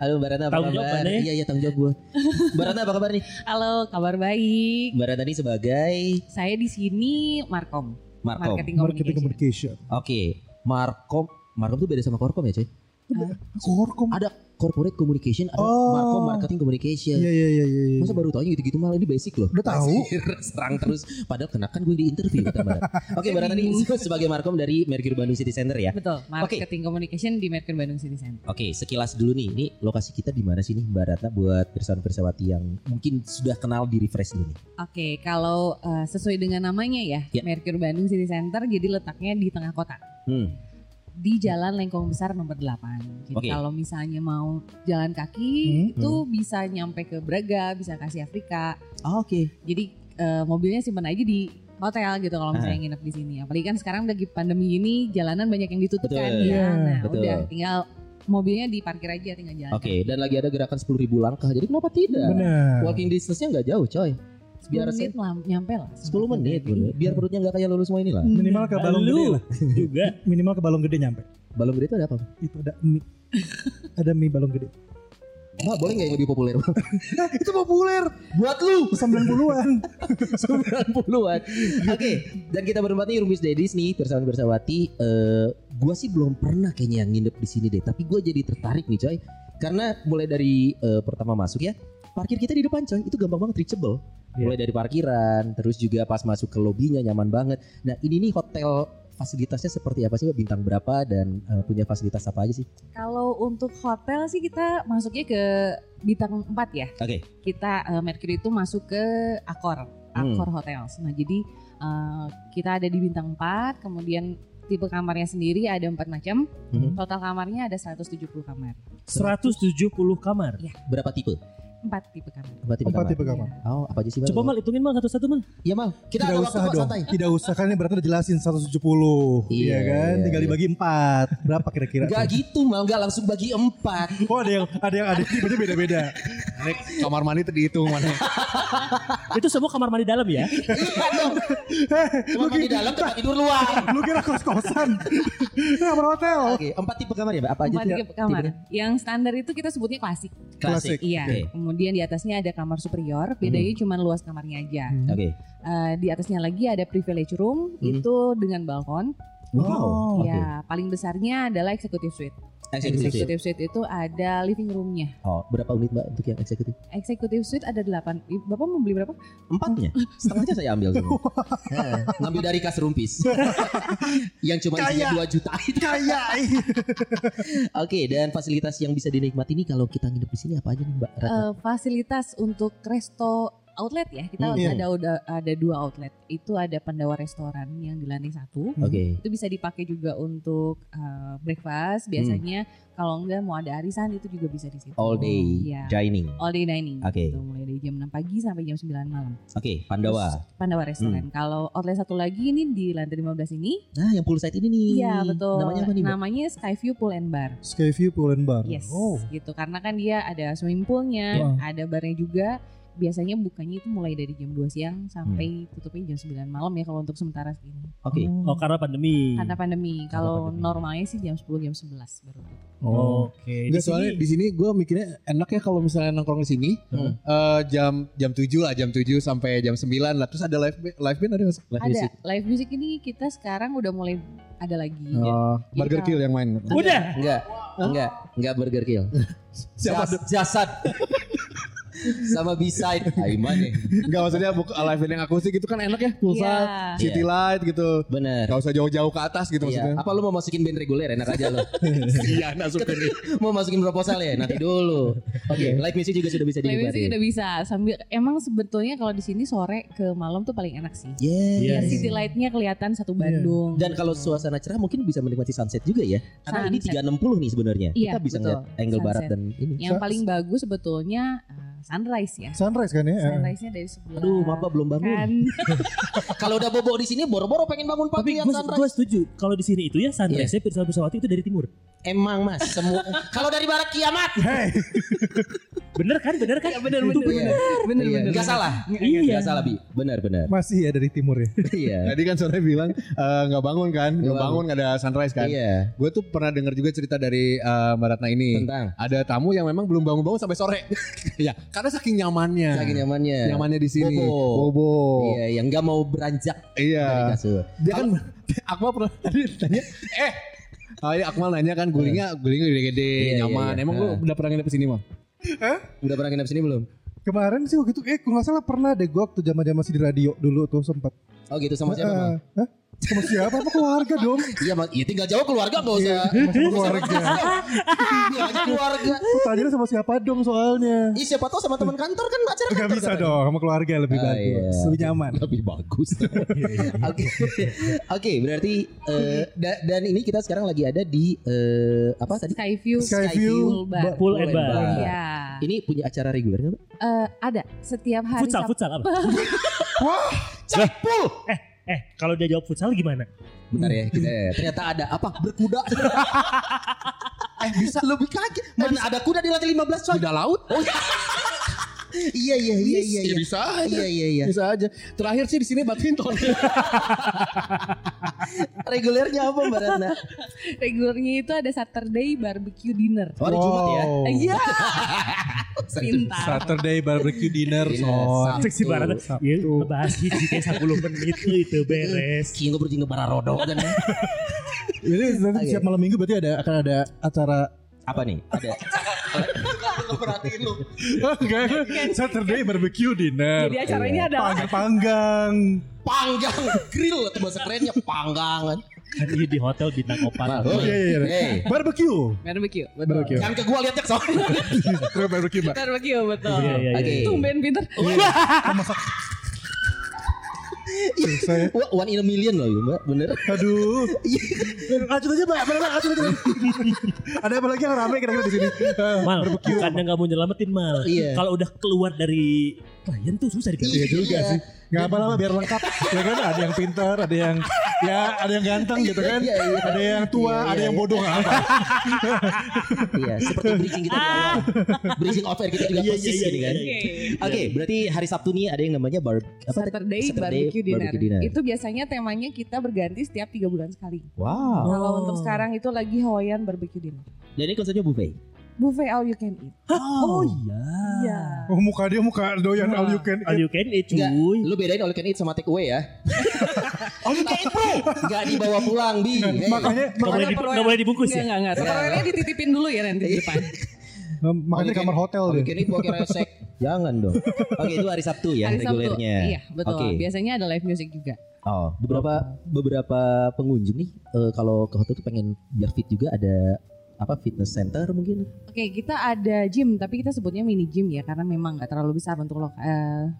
Halo Mbak Ratna apa Tanggung jawab, kabar? Mbak, ya? Iya iya tanggung jawab gue. Mbak Ratna apa kabar nih? Halo, kabar baik. Mbak Ratna ini sebagai Saya di sini Markom, Markom. Marketing Marketing Communication. Communication. Oke, Markom. Markom tuh beda sama Korkom ya cuy. Korkom. Ada Corporate Communication, ada Oh. Markom Marketing Communication. Iya iya iya iya. Masa baru taunya gitu-gitu malah ini basic loh. Udah tahu. Anjir, Serang terus. Padahal kenakan gue di interview. kata Mbak Ratna. Oke, Mbak Ratna ini sebagai Markom dari Mercury Bandung City Center ya. Betul, Marketing Communication di Merkur Bandung City Center. Oke, sekilas dulu nih. Ini lokasi kita di mana sih nih Mbak Ratna buat pirsawan-pirsawati yang mungkin sudah kenal di refresh dulu nih. Oke, kalau eh, sesuai dengan namanya ya, Ya. Merkur Bandung City Center jadi letaknya di tengah kota. Hmm. Di Jalan Lengkong Besar nomor 8. Jadi Ya. Oke. kalau misalnya mau jalan kaki Hmm, itu bisa nyampe ke Braga, bisa kasih Afrika. Ah, Oke. Jadi eh, mobilnya simpan aja di hotel gitu kalau misalnya nginep di sini. Apalagi kan sekarang lagi pandemi gini jalanan banyak yang ditutup Betul. kan. Iya, Ya. Nah, betul. udah tinggal mobilnya diparkir aja tinggal jalan. Oke, dan lagi ada gerakan 10.000 langkah. Jadi kenapa tidak? Benar. Walking distance-nya nggak jauh, coy. 10 Biar menit se- lah, nyampe lah. 10 menit, bener. biar perutnya nggak kayak lulus semua ini lah. Minimal ke balon gede Lu lah. juga Minimal ke balon gede nyampe. Balon gede itu ada apa? Itu ada mie. ada mie balon gede. Mbak, boleh nggak yang lebih populer? itu populer Buat lu 90-an. 90-an. Oke, dan kita berempat nih Rumis Dedis nih, bersama Bersawati. Eh, gua sih belum pernah kayaknya nginep di sini deh, tapi gua jadi tertarik nih, coy. Karena mulai dari eh, pertama masuk ya, parkir kita di depan, coy. Itu gampang banget reachable. Iya. Mulai dari parkiran, terus juga pas masuk ke lobinya nyaman banget. Nah, ini nih hotel fasilitasnya seperti apa sih? Mbak? Bintang berapa dan eh, punya fasilitas apa aja sih? Kalau untuk hotel sih kita masuknya ke bintang 4 ya. Oke. Kita eh, Mercury itu masuk ke Accor, Hmm. Accor Hotels. Nah, jadi eh, kita ada di bintang 4, kemudian tipe kamarnya sendiri ada empat macam. Mhm. Total kamarnya ada 170 kamar. 170 kamar. Berapa tipe? Empat tipe kamar. Berapa tipe Empat kamar? tipe kamar. Oh, apa aja sih? Bang? Coba mal hitungin mal satu-satu mal. Iya, Mal. Kita Tidak ada waktu usah kok dong. santai. Tidak usah kan ini berarti udah jelasin 170. Iya, Iya kan? iya, Tinggal iya. dibagi 4. Berapa kira-kira? Gak gitu mal, gak langsung bagi empat. Oh ada yang ada yang ada tipenya beda-beda. Eh, Ini kamar mandi tadi dihitung mana. Itu semua kamar mandi dalam ya. Iya dong. Cuma di dalam, tempat tidur luar. Lu kira kos-kosan. Kamar hotel. Oke, empat tipe kamar ya, Mbak? Apa aja? Empat sih? tipe kamar. Yang standar itu kita sebutnya klasik. Klasik. Klasik. Iya. Oke. Kemudian di atasnya ada kamar superior. Bedanya cuma luas kamarnya aja. Oke. Eh, di atasnya lagi ada privilege room Hmm. itu dengan balkon. Wow. Oke. Ya, paling besarnya adalah executive suite. Eksekutif. Executive suite itu ada living roomnya. Oh, berapa unit Mbak untuk yang eksekutif? Executive suite ada 8. Bapak mau beli berapa? Empatnya. Setengahnya saya ambil semua. Heeh. Ngambil dari kas rumpis. yang cuma isinya 2 juta. Kayak Oke, dan fasilitas yang bisa dinikmati nih kalau kita nginep di sini apa aja nih Mbak? Ratna? Eh, fasilitas untuk resto outlet ya. Kita Hmm. ada udah- ada dua outlet. Itu ada Pandawa Restoran yang di lantai satu. Oke. Itu bisa dipakai juga untuk eh, breakfast. Hmm. Biasanya kalau enggak mau ada arisan itu juga bisa di situ. All day Iya. dining. Oke, All day dining. Oke. Gitu, mulai dari jam 6 pagi sampai jam 9 malam. Pandawa. Hmm. Terus Pandawa Restoran. Kalau outlet satu lagi ini di lantai 15 ini. Nah, yang poolside ini nih. Iya betul. Namanya apa nih? Mbak? Namanya Skyview Pool and Bar. Skyview Pool and Bar. Yes, Oh. gitu. Karena kan dia ada swimming poolnya, Wah. ada barnya juga. Biasanya bukannya itu mulai dari jam 2 Hmm. siang sampai tutupnya jam 9 malam ya kalau untuk sementara ini. Oke. Oh karena pandemi. Karena pandemi. Kalau Hmm. pandemi. normalnya sih jam 10 jam 11 baru tutup. Oh. Oh. Oke. Enggak soalnya di sini gue mikirnya enak ya kalau misalnya nongkrong di sini Hmm. eh, jam jam 7 lah, jam 7 sampai jam 9 lah. Terus ada live ba- live band ada nggak sih? Live Ada music. Iya live music ini kita sekarang udah mulai ada lagi. Eh, Burger Iya. Kill yang main. Udah. Enggak. Enggak. Enggak Burger Kill. Siapa Jas- jasad. Sama B-side. Aiman nih. Enggak maksudnya buka Iya. live band yang akustik itu kan enak ya, pulsa, Iya. city light gitu. Bener. Gak usah jauh-jauh ke atas gitu Iya. maksudnya. Apa lu mau masukin band reguler enak aja lo. Iya, masuk ke mau masukin proposal ya nanti dulu. Oke, live music juga sudah bisa Iya. Live music dinikmati. udah bisa sambil emang sebetulnya kalau di sini sore ke malam tuh paling enak sih. Yeah. Ya, city lightnya kelihatan satu Bandung. Iya Gitu. Dan kalau suasana cerah mungkin bisa menikmati sunset juga ya. Karena Sunset. ini 360 nih sebenarnya. Iya, Kita bisa betul. ngeliat angle Sunset. barat dan ini. yang paling bagus sebetulnya eh, sunrise ya. Sunrise kan ya. Sunrise-nya dari sebelah. Aduh, Papa belum bangun. kan. Kalau udah bobo di sini boro-boro pengen bangun pagi lihat Tapi sunrise. gue setuju kalau di sini itu ya sunrise yeah. Pirsa Bersawati itu dari timur. Emang Mas, semua Iya. kalau dari barat kiamat. Bener kan? Bener kan? bener Itu bener. Bener, Iya, bener. Nggak salah. Iya. Nggak salah, Bi. Benar, benar. Masih ya dari timur ya. Iya. Tadi kan sore bilang eh, nggak bangun kan, nggak bangun nggak ada sunrise kan. Iya. Gue tuh pernah dengar juga cerita dari eh, Mbak Ratna ini. Tentang Ada tamu yang memang belum bangun-bangun sampai sore. ya, karena saking nyamannya. lagi nyamannya. Nyamannya di sini. Bobo. Bobo. Iya, yang nggak mau Ah. beranjak Iya. dari kasur. Dia kan Akmal pernah tadi tanya, eh Oh iya Akmal nanya kan gulingnya gulingnya Iya, gede-gede iya, nyaman. iya. Emang lu udah pernah nginep sini, Mang? Udah pernah nginep sini belum? Kemarin sih waktu itu eh kalau nggak salah pernah deh gue waktu zaman-zaman masih di radio dulu tuh sempat. Oh gitu sama siapa, Bang? Eh, Hah? Sama siapa? Sama keluarga dong. Iya, Mas. Iya, tinggal jauh keluarga enggak usah. Sama keluarga. Iya, aja keluarga. Pertanyaannya sama siapa dong soalnya. Ih, siapa tahu sama teman kantor kan acara Gak kantor bisa katanya. dong sama keluarga lebih Ah, bagus, iya. lebih nyaman. lebih bagus. Iya, Oke, oke berarti eh, da- dan ini kita sekarang lagi ada di eh, apa tadi? Skyview. Skyview Pool Bar. Ba- Pool and bar. Iya. Ini punya acara reguler nggak? Pak? Eh, ada setiap hari Futsal, Sabtu. futsal apa? Cepul. Eh, eh, kalau dia jawab futsal gimana? Bentar ya, kita ternyata ada apa? Berkuda. eh bisa lebih kaget. Mana ada kuda di lantai 15 coy? Kuda laut. Oh iya. iya iya iya iya. Ya, iya. bisa aja. Iya iya iya. Bisa aja. Terakhir sih di sini badminton. Regulernya apa Mbak Ratna? Regulernya itu ada Saturday barbecue dinner. Oh, hari Jumat ya. Iya. Pintar. Saturday barbecue dinner. Iya, Cek si Barat. Sabtu. Ya, bahas hiji kayak 10 menit itu beres. Kingo berjingga para rodo kan. ya. Jadi nanti Oke. siap malam minggu berarti ada akan ada acara Apa nih? Ada. Saturday barbecue dinner. Jadi Iya, acaranya ada Panggang-panggang. panggang grill atau bahasa kerennya panggangan. Kan ini di hotel bintang opat. Oke. Iya iya. iya. Hey, Barbecue. barbecue. Barbecue. Eh, yang ke gua lihatnya soalnya. barbecue, Mbak. Barbecue betul. Iya, iya, Oke. iya. Tumben pinter. Saya Wah, one in a million loh, Mbak. Bener. aduh. Iya. Lanjut aja, Mbak. Benar, Mbak. Lanjut aja. ada apa lagi yang rame kira-kira di sini? Eh, Mal, bukannya nggak mau nyelamatin Mal. Iya. Kalau udah keluar dari klien tuh susah Iya diganti. juga sih. Gak apa-apa biar lengkap. Ya kan ada yang pintar, ada yang ya ada yang ganteng gitu kan. Iya, iya. Ada yang Iya, tua, ada iya. yang bodoh nggak apa. Iya, seperti bridging kita di awal. Ah. Bridging offer kita juga Iya, persis iya, gini iya, kan. iya. Oke. Oke, berarti hari Sabtu nih ada yang namanya bar apa tadi? Saturday, barbecue, dinner. Itu biasanya temanya kita berganti setiap tiga bulan sekali. Wow. Kalau Oh. untuk sekarang itu lagi Hawaiian barbecue dinner. Dan ini konsepnya buffet. Buffet all you can eat. Oh iya. Iya. Oh muka dia muka doyan Nah, all you can All you eat. can eat, Enggak, cuy. lu bedain all you can eat sama take away ya. all you can eat, Bro. Enggak dibawa pulang, Bi. Hey. Makanya Nggak boleh, di, nggak boleh dibungkus Enggak, ya. enggak, enggak. Trotoarnya dititipin dulu ya nanti di depan. makanya di kamar hotel Oh, all you deh. can eat pakai resek. Jangan dong. Oke, itu hari Sabtu ya Hari Sabtu. regulernya. Iya, betul. Oke. Biasanya ada live music juga. Oh, beberapa beberapa pengunjung nih eh, kalau ke hotel tuh pengen biar fit juga ada apa fitness center mungkin. Oke, kita ada gym, tapi kita sebutnya mini gym ya karena memang nggak terlalu besar untuk loka- eh,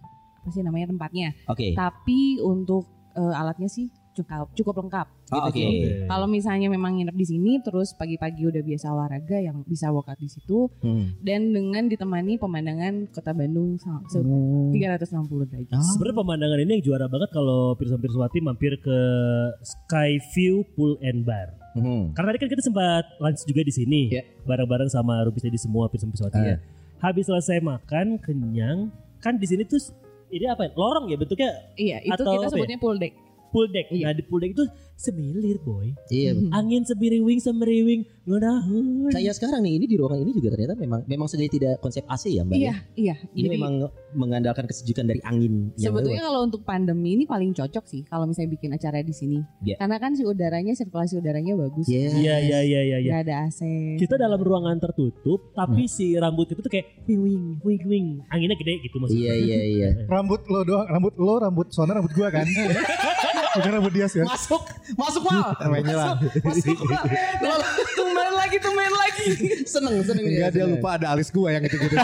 pasti namanya tempatnya. Oke. Tapi untuk eh, alatnya sih cukup cukup lengkap. Oh, Oke. Kalau misalnya memang nginep di sini terus pagi-pagi udah biasa olahraga yang bisa workout di situ Hmm. dan dengan ditemani pemandangan Kota Bandung sa- se- Hmm. 360 derajat. Ah. Sebenarnya pemandangan ini yang juara banget kalau Pirsa Pirsawati mampir ke Skyview Pool and Bar. Hmm. Karena tadi kan kita sempat lunch juga di sini Iya. Ah. bareng-bareng sama Rubis tadi semua Pirsa Pirsawati ya. Habis selesai makan kenyang, kan di sini tuh ini apa? ya? Lorong ya bentuknya Iya, itu Atau kita apa ya? sebutnya pool deck. pool deck. Iya. Nah di pool deck itu semilir boy. Iya. Mhm. Angin semiriwing semeriwing ngunahun. Kayak sekarang nih ini di ruangan ini juga ternyata memang memang sengaja tidak konsep AC ya Mbak. Iya, ya? iya. Ini memang mengandalkan kesejukan dari angin yang Sebetulnya lewat. kalau untuk pandemi ini paling cocok sih kalau misalnya bikin acara di sini. Iya. Karena kan si udaranya sirkulasi udaranya bagus. Yes. Iya iya iya iya. iya. Nah. Gak ada AC. Kita dalam ruangan tertutup, tapi si rambut itu tuh kayak wing wing wing wing. Anginnya gede gitu Iya maksudnya. iya iya. Rambut lo doang, rambut lo, rambut Sona, rambut gua kan. Bukan rambut dia sih. ya. Masuk, masuk mal. Namanya lah. Masuk mal. Tumben lagi, tumben lagi. Seneng seneng Enggak dia seneng. lupa ada alis gua yang gitu-gitu.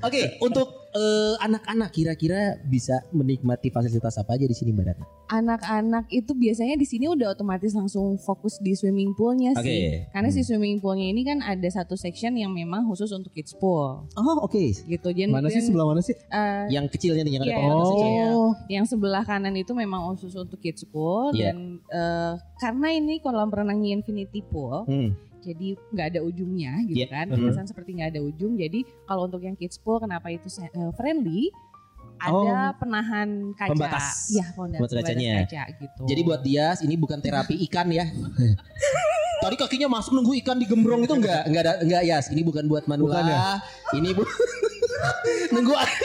Oke, untuk eh, anak-anak kira-kira bisa menikmati fasilitas apa aja di sini Mbak Ratna? Anak-anak itu biasanya di sini udah otomatis langsung fokus di swimming poolnya sih. Karena si Hmm. swimming poolnya ini kan ada satu section yang memang khusus untuk kids pool Oh, oke. gitu. Jadi Mana sih dan, sebelah mana sih? eh, Yang kecilnya nih yang ada Iya, pengawasan yang saja. kecil. yang sebelah kanan itu memang khusus untuk kids pool Iya. dan eh, karena ini kolam renangnya infinity pool, Hmm. jadi nggak ada ujungnya gitu Iya. kan Mhm. Perasaan seperti nggak ada ujung jadi kalau untuk yang kids pool kenapa itu se- eh, friendly ada penahan kaca Oh. Pembatas. iya pembatas, Buat pembatas kacanya. kaca gitu Jadi buat dia ini bukan terapi ikan ya. Iya. Tadi kakinya masuk nunggu ikan digembrong itu enggak enggak ada enggak Yas. Ini bukan buat manula. Bukan ya? Ini bu nunggu a-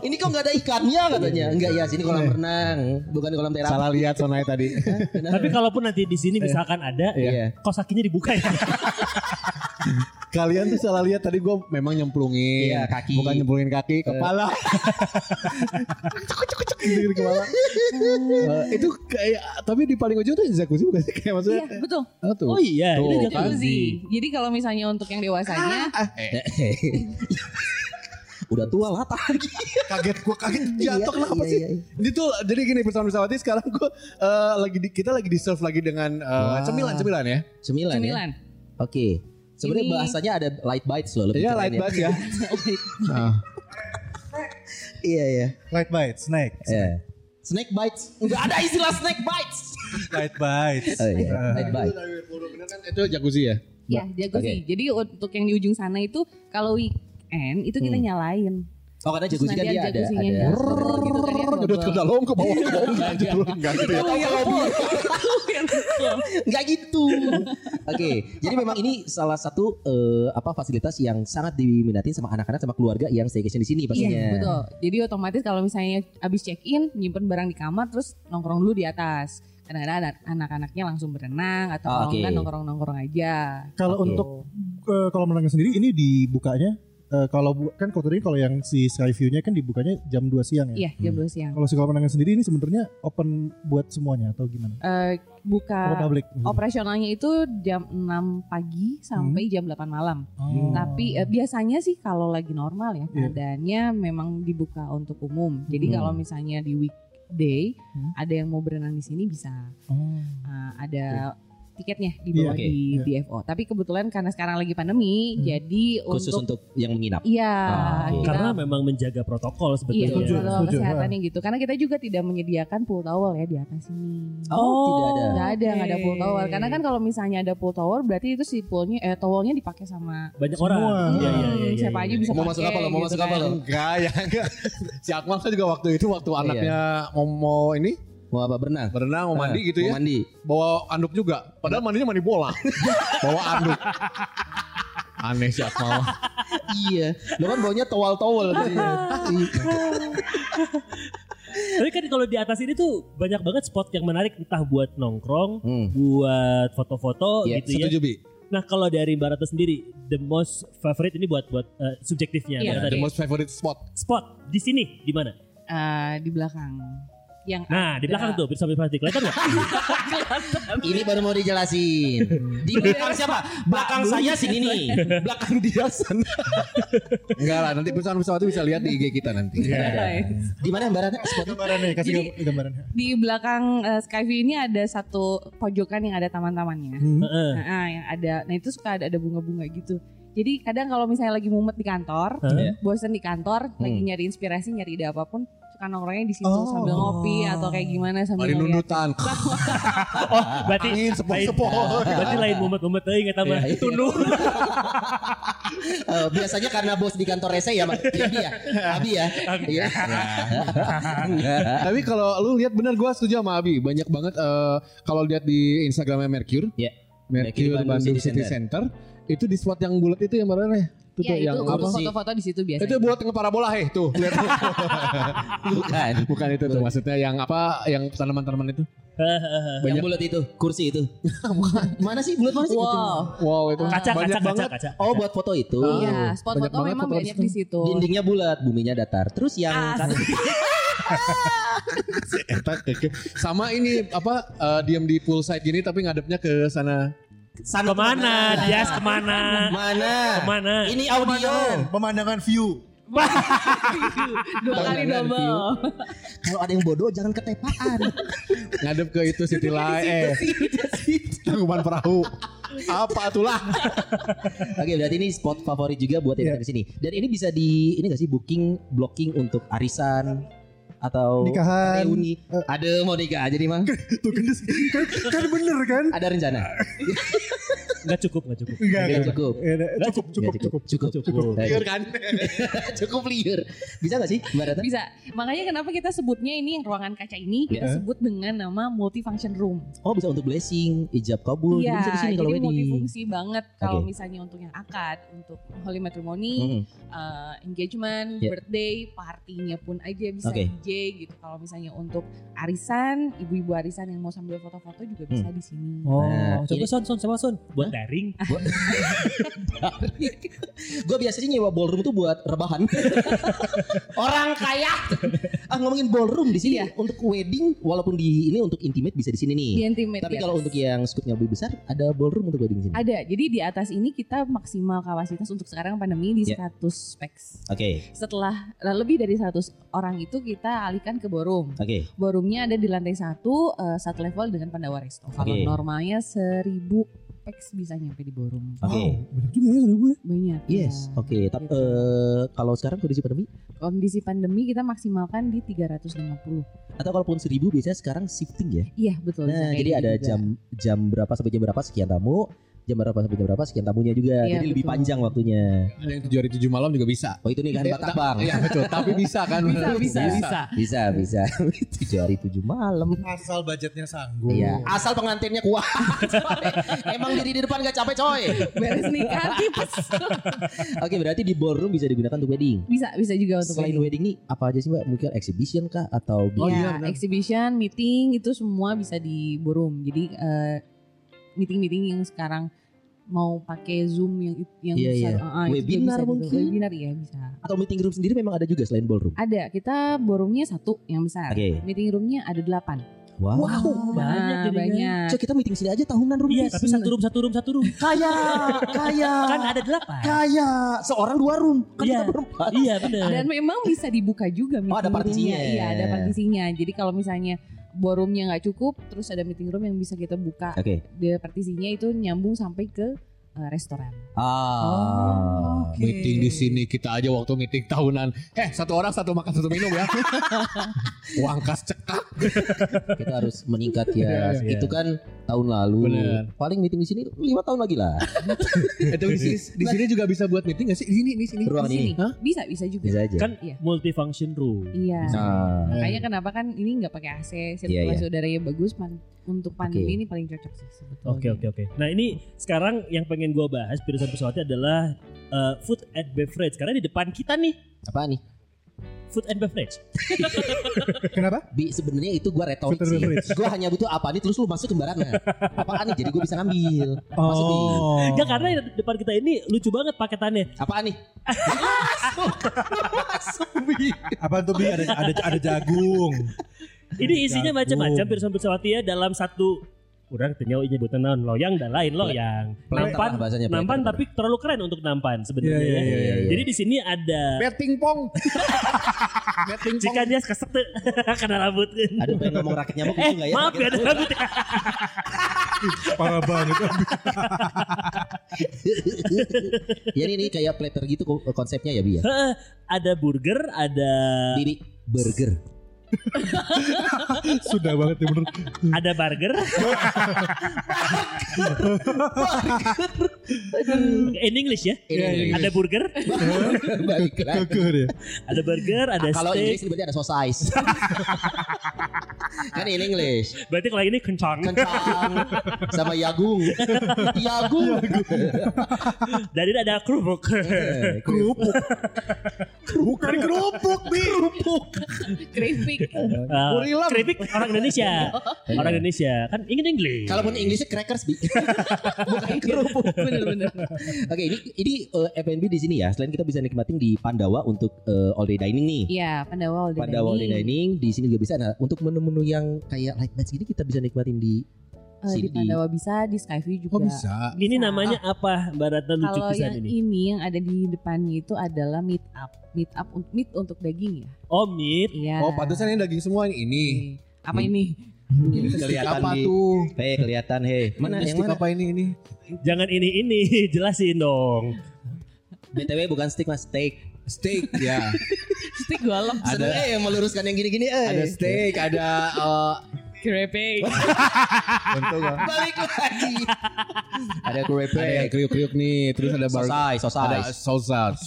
Ini kok enggak ada ikannya katanya. Enggak Yas, ini kolam renang, bukan kolam terapi. Iya, Salah lihat Sonai tadi. Tapi kalaupun nanti di sini misalkan ada, Iya. kos kakinya dibuka ya. Kalian tuh salah lihat tadi gua memang nyemplungin. Iya, kaki. Bukan nyemplungin kaki, Eh. kepala. Gitu-gitu kepala. Eh, itu kayak tapi di paling ujung tuh jacuzzi bukan sih? Kayak maksudnya iya betul oh, tuh. Oh iya, Tuh, ini kan. jacuzzi jadi kalau misalnya untuk yang dewasanya Ah, Udah tua lah tadi. iya. kaget gua kaget jatuh Iya, kenapa iya, sih? iya, iya. Ini tuh jadi gini bersama Wisawati sekarang gua eh, lagi di, kita lagi di serve lagi dengan eh, Wah. cemilan-cemilan ya. Cemilan, ya? cemilan Oke. Sebenarnya Ini- bahasanya ada light bites loh lebih Iya keren light ya. banget ya. Nah. Iya iya. Light bite, snack. Iya. Snack bites. Enggak ada istilah snack bites. Light bites. Oh, iya. Nah. Light bites. Bener kan itu jacuzzi ya? Iya. ya jacuzzi jadi untuk yang di ujung sana itu kalau weekend itu kita Hmm. nyalain Oh karena Terus jacuzzi kan nanti dia ada jacuzzinya ada. jatuh, gitu kan Udah ya, ke bubble. dalam ke bawah Iya, ke bawah ganti Gitu. dulu ganti ya. Enggak gitu. Oke, jadi memang ini salah satu eh, apa fasilitas yang sangat diminati sama anak-anak sama keluarga yang staycation di sini pastinya. Iya betul. Jadi otomatis kalau misalnya abis check in, nyimpen barang di kamar, terus nongkrong dulu di atas. Kadang-kadang ada- anak-anaknya langsung berenang atau Oh, kalau oke. enggak nongkrong-nongkrong aja. Kalau Oke. untuk eh, kalau menangnya sendiri ini dibukanya eh, kalau bu- kan kalau tadi kalau yang si Skyview-nya kan dibukanya jam 2 siang ya. Iya jam 2 siang. Kalau si kolam renangnya sendiri ini sebenarnya open buat semuanya atau gimana? Eh, Open buka public. operasionalnya itu jam 6 pagi sampai Hmm. jam 8 malam. Oh. Nah, Tapi eh, biasanya sih kalau lagi normal ya Iya. keadaannya memang dibuka untuk umum. Jadi Hmm. kalau misalnya di weekday Hmm. ada yang mau berenang di sini bisa. Oh. Uh, ada tiketnya dibawa Iya, oke, di bawah di DFO. Tapi kebetulan karena sekarang lagi pandemi, Hmm. jadi Khusus untuk untuk yang menginap. iya Ah, oke. kita- Karena memang menjaga protokol iya sebetulnya. Setuju, protokol setuju. kesehatannya gitu. Karena kita juga tidak menyediakan pool towel ya di atas sini. Oh, tidak ada. Nggak ada, nggak ada pool oke. towel. Karena kan kalau misalnya ada pool towel, berarti itu si poolnya, eh, towelnya dipakai sama Banyak Semua. orang. Iya, iya, iya, Hmm, iya, siapa iya. aja bisa Mau masuk pakai, apa lo? Mau gitu masuk apa kan. lo? Enggak ya enggak. Si Akmal kan juga waktu itu waktu anaknya mau mau ini Mau apa berenang? Nah, berenang mau mandi gitu ya. Mau mandi. Bawa anduk juga. Padahal mandinya mandi bola. Bawa anduk. Aneh si Akmal. iya. Lo kan baunya towel-towel katanya. Iya. Tapi kan kalau di atas ini tuh banyak banget spot yang menarik entah buat nongkrong, Hmm. buat foto-foto Iya, gitu ya. Setuju Bi. Nah kalau dari Mbak Ratna sendiri, the most favorite ini buat buat eh, subjektifnya. Iya, Mbak Ratna The nih. most favorite spot. Spot di sini di mana? Eh, di belakang. yang Nah, di belakang tuh bisa plastik. Kelihatan nggak? Ini baru mau dijelasin. Di belakang siapa? Belakang saya sini nih. Iya. Belakang dia sana. Enggak lah, nanti pesawat-pesawat itu bisa lihat di IG kita nanti. Iya. Iya. Di mana Mbak Rana? Spot- Gambarannya kasih Jadi- gam- gambarannya. di belakang eh, Skyview ini ada satu pojokan yang ada taman-tamannya. Hmm. Heeh. Nah, ah, yang ada, nah itu suka ada ada bunga-bunga gitu. Jadi kadang kalau misalnya lagi mumet di kantor, Iya. Heeh. bosen di kantor, Hmm. lagi nyari inspirasi, nyari ide apapun, suka nongkrongnya di situ Oh. sambil ngopi atau kayak gimana sambil Mari ngeliat. nundutan. Oh, berarti Angin sepoh-sepoh. berarti lain mumet-mumet eh, teuing eta mah. Iya, iya. Tunduh. Eh, biasanya karena bos di kantor rese ya, Mbak. Abi ya. Abi ya. Iya. Tapi kalau lu lihat bener gue setuju sama Abi. Banyak banget eh, kalau lihat di Instagramnya Mercure. Iya. Mercure Mercure Bandung, City Center. Itu di spot yang bulat itu yang mana nih? Itu Ya, tuh itu yang apa? kursi. foto-foto di situ biasanya. Itu bulat yang parabola heh tuh. Lihat. Bukan. Bukan itu tuh maksudnya yang apa yang tanaman-tanaman itu. Yang Banyak. bulat itu, kursi itu. mana sih bulat mana sih? Wow. Wow itu Kaca, kaca, banyak kaca, banget. kaca. Oh, buat foto itu. Iya, spot banyak foto banget memang foto banyak di di situ. Dindingnya bulat, buminya datar. Terus yang Ah, ya, Sama ini apa eh, diam di poolside gini tapi ngadepnya ke sana. sana Kemana? Dias kemana? Mana? Kemana? Ini audio. Pemandangan view. dua kali double. Kalau ada yang bodoh jangan ketepaan. Ngadep ke itu City Light eh tangkuban perahu. Apa itulah? Oke, berarti ini spot favorit juga buat yang Iya. datang ke sini. Dan ini bisa di ini gak sih booking blocking untuk arisan atau Nikahan. Eh. reuni. Ada mau nikah aja nih, Mang. Tuh kan, kan, kan bener kan? Ada rencana? Enggak cukup, enggak cukup. Enggak, Oke, enggak. cukup. Eh, cukup, cukup, Nggak cukup. Cukup, cukup. Cukup. Eh, Liur kan? cukup liur. Bisa gak sih, Mbak Rata? Bisa. Makanya kenapa kita sebutnya ini yang ruangan kaca ini kita Iya. sebut dengan nama multifunction room. Oh, bisa untuk blessing, ijab kabul. Jadi Iya, bisa di sini jadi kalau wedding. multifungsi banget kalau Oke. misalnya untuk yang akad, untuk holy matrimony, Mm. eh, engagement, Iya. birthday, partinya pun aja bisa Oke. DJ gitu. Kalau misalnya untuk arisan, ibu-ibu arisan yang mau sambil foto-foto juga bisa Hmm. di sini. Oh, Nah, coba ini- son, son, coba son. Buat daring. Gue biasanya nyewa ballroom tuh buat rebahan. Orang kaya. ah ngomongin ballroom di sini Iya. untuk wedding walaupun di ini untuk intimate bisa di sini nih. Di intimate. Tapi yes. kalau untuk yang scoopnya lebih besar ada ballroom untuk wedding di sini. Oke. ada, jadi di atas ini kita maksimal kapasitas untuk sekarang pandemi Iya. di 100 specs. Setelah nah, lebih dari 100 orang itu kita alihkan ke ballroom. Oke. Ballroomnya ada di lantai satu, eh, satu level dengan Pandawa Resto. Kalau Oke. normalnya 1000 peks bisa nyampe di ballroom. Oke. Bener juga ya, seribu ya. Banyak. Ah. Yes. ya. Oke. Tapi Oh, Gitu. eh, kalau sekarang kondisi pandemi Kondisi pandemi kita maksimalkan di 350. atau kalaupun seribu biasanya sekarang shifting ya. Iya, betul. bisa Nah, kayak jadi gitu ada juga. jam jam berapa sampai jam berapa sekian tamu, jam berapa sampai jam berapa sekian tamunya juga. Iya, jadi lebih betul. panjang waktunya. Ada Nah, yang tujuh hari tujuh malam juga bisa. Oh, itu nih kan Eh, batak ta- bang. Iya betul. Tapi bisa kan? Bisa, bisa, Bisa. bisa. Bisa, bisa. tujuh hari tujuh malam. Asal budgetnya sanggup. Iya, asal pengantinnya kuat. Emang diri di depan gak capek coy. Beres nikah tipes. Iya. Oke, berarti di ballroom bisa digunakan untuk wedding. bisa bisa juga untuk Selain wedding. wedding nih apa aja sih Mbak? Mungkin exhibition kah atau Iya, Oh, iya, benar. exhibition, meeting itu semua bisa di ballroom. Jadi eh, meeting-meeting yang sekarang mau pakai Zoom yang yang Iya, bisa iya. eh, eh, itu juga Webinar bisa gitu. mungkin. Webinar ya bisa. atau meeting room sendiri memang ada juga selain ballroom. Ada, kita ballroomnya satu yang besar. Oke. Meeting roomnya ada delapan. Wow. banyak Nah, jadinya. banyak. Coy, kita meeting sini aja tahunan room. Iya, tapi satu room, satu room, satu room. kaya, kaya. Kan ada delapan. Kaya, seorang dua room. Kan Iya. kita berempat. Iya, benar. Dan memang bisa dibuka juga meeting Oh, ada partisinya. roomnya. Iya, ada partisinya. Jadi kalau misalnya ballroomnya nggak cukup, terus ada meeting room yang bisa kita buka. Oke. Di partisinya itu nyambung sampai ke eh, restoran. Oh. Ah. Meeting di sini kita aja waktu meeting tahunan. Eh satu orang satu makan satu minum ya. Uang kas cekak. Kita harus meningkat ya. Iya, iya. Itu kan tahun lalu. Bener. Paling meeting di sini lima tahun lagi lah. Itu Eh, di sini, di sini juga bisa buat meeting gak sih? Di sini, di sini. Ruangan Di ini. sini. Bisa, bisa juga. Bisa aja. Kan Iya. multifunction room. Iya. Nah, Makanya kenapa kan ini nggak pakai AC, sirkulasi Iya, iya. udaranya bagus pan- untuk pandemi Oke. ini paling cocok sih sebetulnya. Oke oke oke. Nah ini sekarang yang pengen gua bahas pirusan pesawatnya adalah eh, food and beverage karena di depan kita nih apa nih? food and beverage. Kenapa? Bi sebenarnya itu gua retorik Filter sih. beverage. Gua hanya butuh apa nih terus lu masuk kembarannya. Apaan nih? Jadi gua bisa ngambil. Masuk Oh. di Enggak karena di depan kita ini lucu banget paketannya. apaan nih? Apa tuh Bi? Ada, ada, ada jagung. Ini isinya macam-macam Pirsawan Pirsawati ya dalam satu Iya. kurang tanya nyebutan naon loyang dan lain loyang. Peleta lah Nampan bahasanya, peleta. nampan tapi terlalu keren untuk nampan sebenarnya. Iya, iya, ya. iya, iya. Jadi di sini ada Betting pong. Betting pong. jika dia kesete karena rambut. Aduh pengen ngomong rakyat nyamuk Eh, itu nggak ya? maaf ya ada rambut. Parah banget. ya ini, ini kayak platter gitu ko- konsepnya ya Bi ya. Heeh, ada burger, ada Ini burger. Sudah banget ya bener. ada burger. Oke, In English ya. Ini, ini, ini. Ada burger, Balik lagi. Kekeh dia. ada burger, ada Ah, Kalau Inggris steak. berarti ada sausage. kan in English. Berarti kalau ini kencang. Kencang sama Yagung. Yagung. Dan ini ada kerupuk. Eh, Kerupuk. Bukan kerupuk bi. Kerupuk. Keripik. Ah, keripik orang Indonesia. Iya. Orang Indonesia kan ingin English. Kalaupun Inggrisnya crackers bi. Bukan Iya, kerupuk. Bener-bener. Oke, ini ini eh, F&B di sini ya. Selain kita bisa nikmatin di Pandawa untuk eh, all day dining nih. Iya, Pandawa All Day Pandawa all day Dining. dining di sini juga bisa. Nah, untuk menu-menu yang kayak light match gini kita bisa nikmatin di Eh, Sini. di Pandawa bisa, di Skyview juga. Oh bisa. ini namanya apa? Baratnya lucu Kalau ya pisan yang ini. ini. yang ada di depannya itu adalah meet up, meet up un- meet untuk daging ya. Oh meat. Iya. Oh pantesan ini daging semua ini. Nih, Apa ini? Stick Hmm. kelihatan apa di- tuh? Hei, kelihatan hei. Mana yang Stick mana? apa ini ini? Jangan ini ini jelasin dong. BTW bukan steak mas, steak. Steak ya. Stick golem, Ada eh, yang meluruskan yang gini-gini eh. ada steak, ada eh, keripik. Balik lagi. ada ada yang keripik. kriuk-kriuk nih, terus ada burger, Sosai, ada sosai. sausage,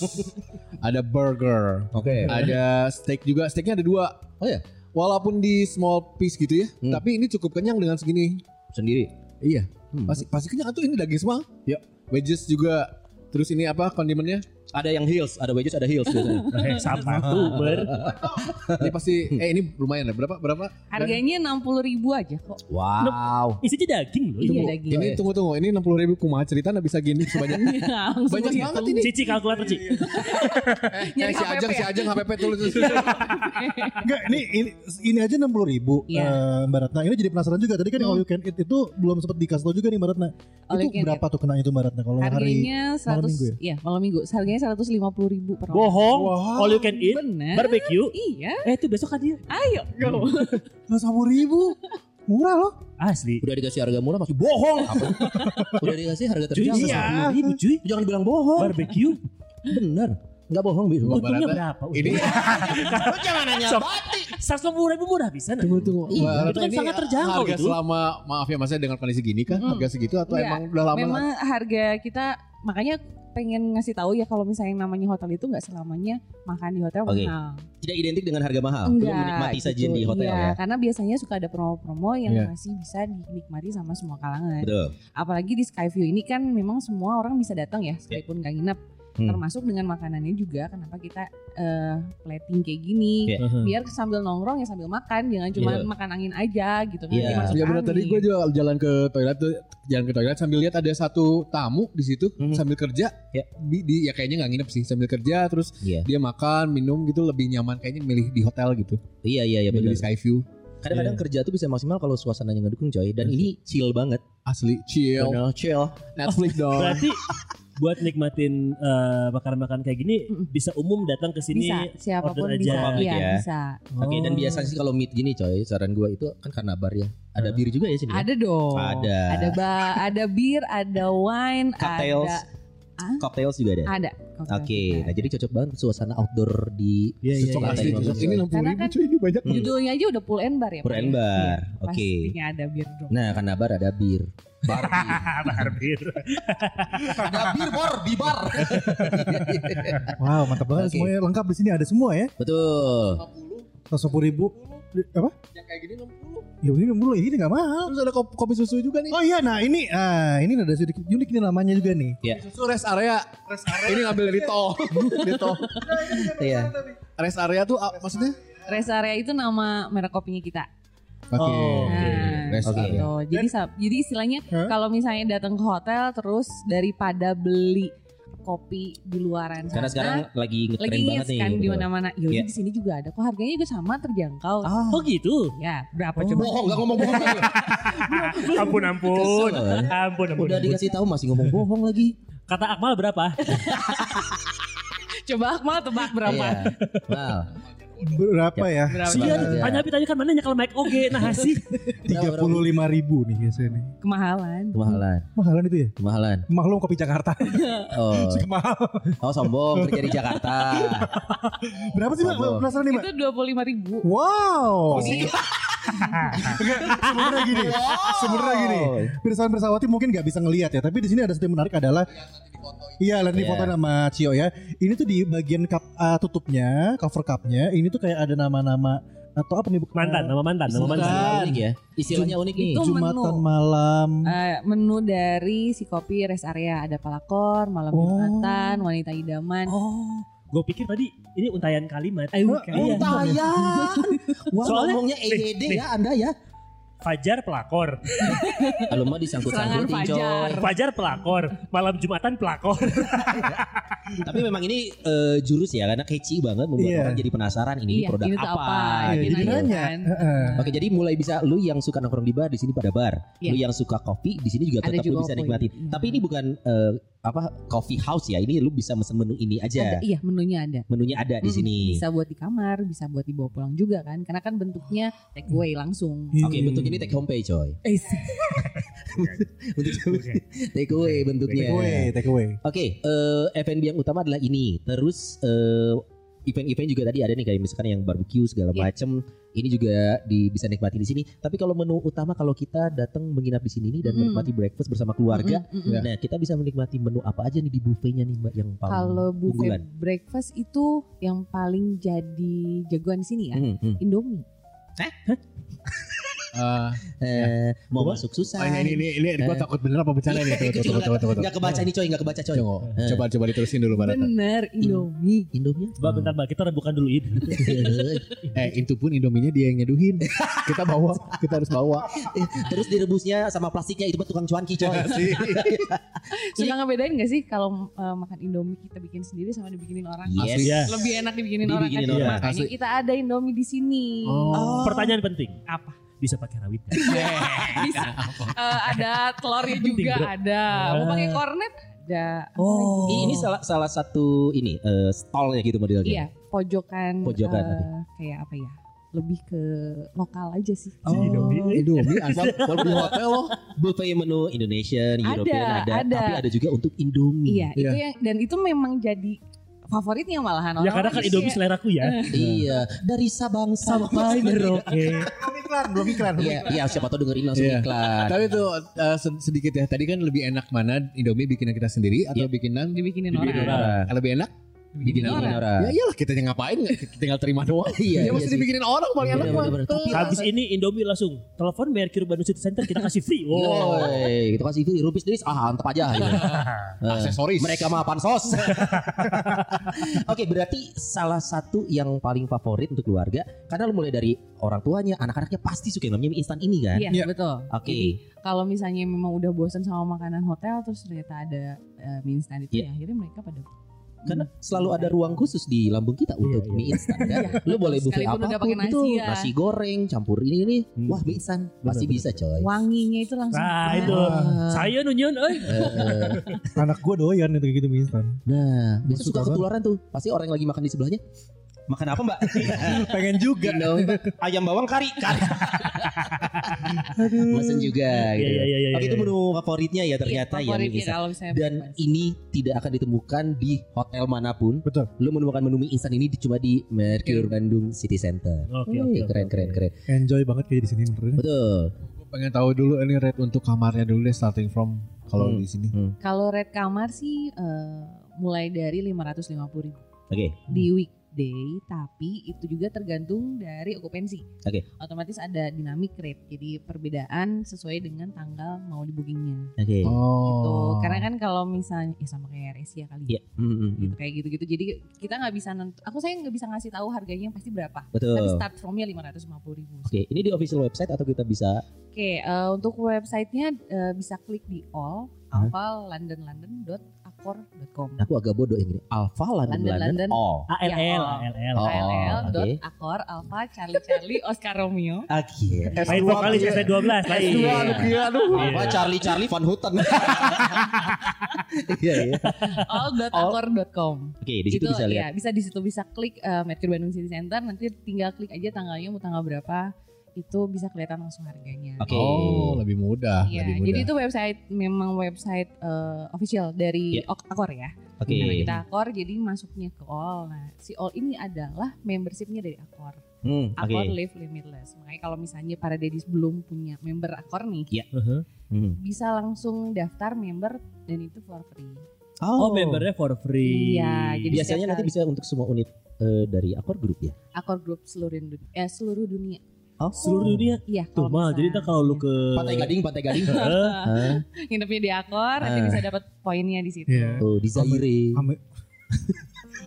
ada burger, Oke. ada steak juga. Steaknya ada dua. Iya, Oh ya, Walaupun di small piece gitu ya, Hmm. tapi ini cukup kenyang dengan segini. sendiri. Iya, Hmm. pasti pasti kenyang tuh ini daging semua. Iya. Ya, wedges juga. Terus ini apa kondimennya? Ada yang heels, ada wedges, ada heels biasanya. Eh, Sampah tuh ber. Ini pasti eh ini lumayan lah. Berapa berapa? Harganya 60 ribu aja kok. Wow. Isinya daging loh. Iya Tunggu. daging. Ini tunggu tunggu, ini 60 ribu kumaha cerita nggak bisa gini sebanyak Langsung banyak dihitung. banget ini. Iya. Cici kalkulator Ci. Eh, si HPP Ajeng, si ya? Ajeng HPP tulis. Enggak, ini, ini ini aja enam puluh ribu, Iya. eh, Mbak Ratna. Ini jadi penasaran juga. Tadi kan yang all Hmm. you can eat itu belum sempat dikasih tau juga nih Mbak Ratna. All you itu can berapa tuh kenanya itu Mbak Ratna kalau yang hari Harganya 100 malam minggu ya? Iya, malam minggu. Harganya 150 ribu per orang. Bohong. Wah. All you can eat. Bener. Barbecue. Iya, Eh itu besok hadir. ayo Hmm. go. puluh ribu? Murah loh. Asli. Udah dikasih harga murah masih Bohong. Udah dikasih harga Cuy, terjangkau. iya. ribu cuy. Jangan bilang Oh. bohong. Barbecue. Bener. Enggak bohong, Bi. Mbak Untungnya Barata. berapa? Ini Lu jangan nanya Sob. batik. Seratus ribu murah bisa. tunggu tunggu. Iya, Mbak itu Ratna, kan ini sangat terjangkau harga itu. selama maaf ya Mas ya, dengan kondisi gini kan Mm-mm. harga segitu atau Iya. emang udah lama Memang harga kita makanya pengen ngasih tahu ya kalau misalnya yang namanya hotel itu nggak selamanya makan di hotel Oke. mahal. Tidak identik dengan harga mahal. Lu Enggak. menikmati gitu. sajian di hotel Iya, ya. Karena biasanya suka ada promo-promo yang Iya. masih bisa dinikmati sama semua kalangan. Betul. Apalagi di Skyview ini kan memang semua orang bisa datang ya, sekalipun nggak nginep. Iya. Hmm. Termasuk dengan makanannya juga. Kenapa kita eh, plating kayak gini? Iya. Hmm. Biar sambil nongkrong ya sambil makan, jangan cuma Iya. makan angin aja gitu kan. Iya. jadi masuk Ya benar angin. tadi gue juga jalan ke toilet tuh jalan ke toilet sambil lihat ada satu tamu di situ Mhm. sambil kerja Ya. Di- di- ya kayaknya nggak nginep sih sambil kerja terus Iya. dia makan minum gitu lebih nyaman kayaknya milih di hotel gitu Iya, iya, iya benar. milih di Skyview Kadang-kadang kerja tuh bisa maksimal kalau suasananya ngedukung coy. Dan ini chill banget. asli chill Bener, chill. Netflix dong Berarti buat nikmatin eh, makanan-makanan kayak gini Mm-mm. bisa umum datang ke sini. bisa siapapun order aja. bisa, Public iya ya. bisa. Oke, dan Oh. biasanya sih kalau meet gini coy, saran gua itu kan karena bar ya. Ada bir juga ya sini. ya? Ada dong. Ada. Ada ba, ada bir, ada wine, Cocktails. ada Ah? Cocktails juga ada. ada. Oke, nah jadi cocok banget suasana outdoor di Iya, iya, Cocok iya. asli, iya, cocok. iya. ini 60 Karena ribu kan- cuy ini banyak Hmm. Judulnya aja udah pull and bar ya. Pak, Pur ya? and Bar. Iya, Oke. Pastinya ada bir dong. Nah, karena bar ada bir. Bar bir. Barbir. ada bir bor di bar. Wow, mantap banget Oke. semuanya lengkap di sini ada semua ya. Betul. 150 ribu apa? yang kayak gini 60 Ya ini dulu ini nggak mahal. terus ada kopi, kopi susu juga nih Oh iya, nah ini ah ini ada sedikit unik nih namanya juga nih. susu rest area rest area ini ngambil dari tol di tol Iya. rest area tuh ah, maksudnya Rest area itu nama merek kopinya kita. oke Oh, oke. rest Oke. area Gitu. Jadi sa- jadi istilahnya Hah? kalau misalnya datang ke hotel terus daripada beli kopi di luaran Karena sana. sekarang lagi ngetren lagi banget ngis nih. kan di betul. mana-mana. Ya Iya. di sini juga ada kok harganya juga sama terjangkau. Ah, Oh gitu. Ya, berapa coba? Bohong, gak ngomong bohong. kan? Ampun ampun. Kesel, kan? Ampun ampun. udah ampun. dikasih tahu masih ngomong bohong lagi. Kata Akmal berapa? Coba Akmal tebak berapa? Iya. Mal, Berapa ya? Berapa? Iya. Sian, tanya tapi tanya kan mana nyakal mic oge nah sih. Berapa, Tiga berapa? puluh lima ribu nih biasanya nih. Kemahalan. kemahalan, Mahalan itu ya? kemahalan. Maklum kopi Jakarta. Oh, Si mahal. oh sombong kerja di Jakarta. Berapa sih Mbak? Sombong. Penasaran nih Mbak? Itu 25 ribu. Wow. Jadi, Enggak, sebenarnya gini. Sebenarnya Oh, gini. Pirsawan Bersawati mungkin nggak bisa ngelihat ya, tapi di sini ada satu yang menarik adalah Iya, lihat di Iya. foto nama Cio ya. Ini tuh di bagian cup eh, tutupnya, cover cupnya. Ini tuh kayak ada nama-nama atau apa nih bukan? Mantan, nama mantan, nama Bukan. mantan. Istilahnya unik ya. Istilahnya unik nih. Itu Jumatan menu. malam. eh, menu dari si kopi rest area ada palakor, malam Oh. jumatan, wanita idaman. Oh, gue pikir tadi ini untayan kalimat. Eh, iya. Untayan. Oh, Wah, Soalnya- ngomongnya EYD ya Anda ya. Fajar pelakor, Kalau mah disangkut-sangkutin Serangan coy. fajar. Fajar pelakor, malam Jumatan pelakor. Tapi memang ini eh, jurus ya karena catchy banget membuat Iya. orang jadi penasaran ini Iya, produk ini apa. tuh ya. apa? Iya, gitu jadi kan. nanya. Heeh. Oke, jadi mulai bisa lu yang suka nongkrong di bar di sini pada bar. Lu yang suka kopi di sini juga Iya. Ada tetap lu juga bisa kopi. nikmatin. Iya. Tapi ini bukan eh, apa coffee house ya. Ini lu bisa mesen menu ini Ada, aja. iya menunya ada. Menunya ada di Mm-mm. sini. Bisa buat di kamar, bisa buat dibawa pulang juga kan. Karena kan bentuknya take away langsung. Iya. Oke, bentuk ini take home pay coy. Eh, Bentuk take away bentuknya. Take away, take away. Oke, eh F&B yang utama adalah ini. Terus eh, event-event juga tadi ada nih kayak misalkan yang barbecue segala Iya. macem. Ini juga di, bisa nikmati di sini. Tapi kalau menu utama kalau kita datang menginap di sini nih dan Mm. menikmati breakfast bersama keluarga, mm, mm, Ya. mm. nah kita bisa menikmati menu apa aja nih di buffetnya nih mbak yang paling Kalau buffet unggulan. breakfast itu yang paling jadi jagoan di sini ya. Hmm, hmm. Indomie. Eh, Eh, mau Coba. masuk susah. oh, ini ini ini, ini gua Eh. takut bener apa bercanda nih. Tuh, tuh, tuh, tuh, tuh, tuh. Nggak kebaca nih coy, nggak kebaca coy. Coba, Eh. coba coba diterusin dulu Mbak Rata. Bener, Indomie. Indomie. Mbak bentar mbak, kita rebukan dulu ini. Eh itu pun indominya dia yang nyeduhin. Kita bawa, kita harus bawa. Terus direbusnya sama plastiknya itu buat tukang cuanki coy. Iya Sih. Suka ngebedain gak sih kalau eh, makan Indomie kita bikin sendiri sama dibikinin orang? Yes. Asli. Ya. Lebih enak dibikinin orang kan. Dibikinin orang. Makanya Asli. kita ada Indomie di sini. Oh. Pertanyaan penting. Apa? Bisa pakai rawit. ya? nggak? Bisa. Eh, ada telurnya Penting, juga bro. ada. Mau Ah. pakai cornet? Ada. Oh. Ini ini salah salah satu ini eh, stallnya gitu modelnya. Iya, pojokan. Pojokan, eh, oke. kayak apa ya? Lebih ke lokal aja sih. Hmm, Oh. Indomie. Indomie asal kalau di hotel loh. buffet menu Indonesian, Ada, European ada, ada. tapi ada juga untuk Indomie. Iya, itu yang dan itu memang jadi favoritnya malahan Ya karena kan jadi Indomie kayak, seleraku ya. Iya, dari Sabang sampai Merauke. Belum iklan, belum iklan. Iya, iya siapa tahu dengerin langsung Iya. iklan. Tapi tuh eh, sed- sedikit ya. Tadi kan lebih enak mana Indomie bikinan kita sendiri Iya. atau bikinan dibikinin Dibikinin orang. orang. lebih enak? Bikin Iya. Iya. orang. Ya iyalah kita yang ngapain tinggal terima doang. Ah. Iya, ya iya mesti sih. dibikinin orang paling enak Bener, mah. bener, bener. Tapi Habis ini Indomie langsung telepon Mercury Bandung City Center kita kasih free. Wow. Woi, gitu itu kasih itu rupis deris ah antep aja gitu. Eh, Nah, aksesoris. mereka mah pansos. Oke, berarti salah satu yang paling favorit untuk keluarga karena lu mulai dari orang tuanya, anak-anaknya pasti suka yang namanya mie instan ini kan. Iya, Iya. betul. Oke. Jadi, kalau misalnya memang udah bosan sama makanan hotel terus ternyata ada eh, mie instan itu Iya. ya akhirnya mereka pada Karena hmm. selalu ada ruang khusus di lambung kita untuk iya. mie instan kan. Lu boleh buffet Sekalipun apa udah pakai nasi ya. nasi goreng campur ini ini. Wah, mie instan pasti bisa coy. wanginya itu langsung Nah keluar. itu saya nunyun, eh Eh, Anak gua doyan itu kayak gitu mie instan. nah, dia Suka suka banget. ketularan tuh. Pasti orang yang lagi makan di sebelahnya. Makan apa, Mbak? Pengen juga. Indomie, Mbak. ayam bawang kari. kari. Mesen juga Iya gitu. iya iya iya. Oke, itu menu favoritnya ya ternyata Iya, ya mie favoritnya instan. kalau misalnya Dan breakfast. ini tidak akan ditemukan di hotel manapun. Betul. Lu menemukan menu mie instan ini di- cuma di Mercure Bandung City Center. Oke Oke, oke. keren keren keren. Enjoy banget kayak di sini menurut Betul. Gua pengen tahu dulu ini rate untuk kamarnya dulu deh starting from kalau Hmm. di sini. kalau red kamar sih eh, mulai dari 550 ribu Oke. di weekday tapi itu juga tergantung dari okupansi. Oke. Otomatis ada dynamic rate jadi perbedaan sesuai dengan tanggal mau di bookingnya. Oke. Gitu. Oh. Karena kan kalau misalnya eh sama kayak RSI ya kali. Iya. Mm, mm, mm. Gitu, kayak gitu-gitu. Jadi kita nggak bisa nentu, aku saya nggak bisa ngasih tahu harganya pasti berapa. Tapi Betul. Oke, start from-nya 550 ribu. ini di official website atau kita bisa Oke, eh, untuk websitenya eh, bisa klik di all Hah? Nah, apa londonlondon.aku akor.com. Aku agak bodoh yang ini. Alpha London Oh. London, London, London. all. ALL, Ya, ALL. Oh, dot oke. akor alpha charlie charlie oscar romeo. Oke. Main vokalis S12 tadi. Iya. Apa Charlie Charlie Van Oh, Houten? Iya iya. all dot akor dot com. Oke, di situ Itu, bisa lihat. ya, bisa di situ bisa klik eh, Mercury Bandung City Center nanti tinggal klik aja tanggalnya mau tanggal berapa itu bisa kelihatan langsung harganya. Oke. Ah, Oh, lebih mudah, Iya, lebih mudah. jadi itu website memang website eh, official dari Iya. Ok- Akor ya. Oke. Karena kita Akor jadi masuknya ke All. Nah, si All ini adalah membershipnya dari Akor. Hmm, oke. Akor Live Limitless. Makanya kalau misalnya para dedis belum punya member Akor nih, Iya. Hmm. bisa langsung daftar member dan itu for free. Oh, membernya for free. Iya, jadi- Biasanya nanti bisa kan? untuk semua unit eh, dari akor grup ya. Akor Group seluruh dunia. Eh, seluruh dunia. Oh, seluruh dunia Iya, tuh kalau mah. Jadi misalnya ntar kalau lu ke Eh, Pantai Gading, Pantai Gading. Hah? nginepnya di Akor, nanti Ah. bisa dapat poinnya di situ. Iya. Oh, di Zaire, Ame-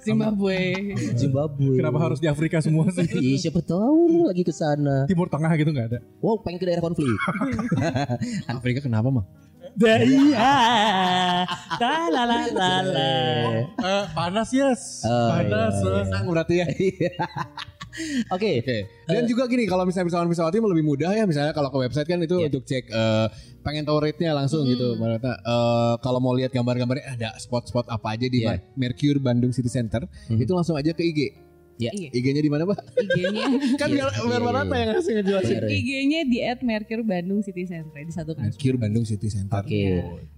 Zimbabwe. Zimbabwe. Kenapa harus di Afrika semua sih? Ih, siapa tahu lu lagi ke sana. Timur Tengah gitu nggak ada. Wow, pengen ke daerah konflik. Afrika kenapa, Mang? Da- iya. Ta la la la la. Eh, panas yes. Oh, panas. eh. iya, iya. yes. Senang berarti ya. Oke. Oke. Dan juga gini kalau misalnya pesawat pesawatnya lebih mudah ya misalnya kalau ke website kan itu Iya. untuk cek eh, pengen tahu rate-nya langsung Hmm. gitu. Maksudnya eh, kalau mau lihat gambar-gambarnya ada spot-spot apa aja di Iya. Mer- Mercure Bandung City Center Mhm. itu langsung aja ke IG. Iya. Iya. IG-nya di mana, Pak? IG-nya Kan Iya, biar biar iya, Barata iya. yang ngasih ngejelasin. Bener. Iya. IG-nya di @mercure Bandung City Center disatukan. Mercure Bandung City Center. Oke.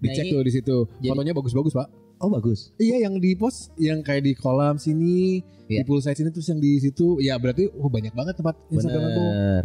Dicek Nah, ini- tuh di situ. jadi- Fotonya bagus-bagus, Pak. Oh, bagus. Iya, yang di post yang kayak di kolam sini, di Iya. poolside sini terus yang di situ. Ya berarti oh banyak banget tempat Instagram aku. Bener.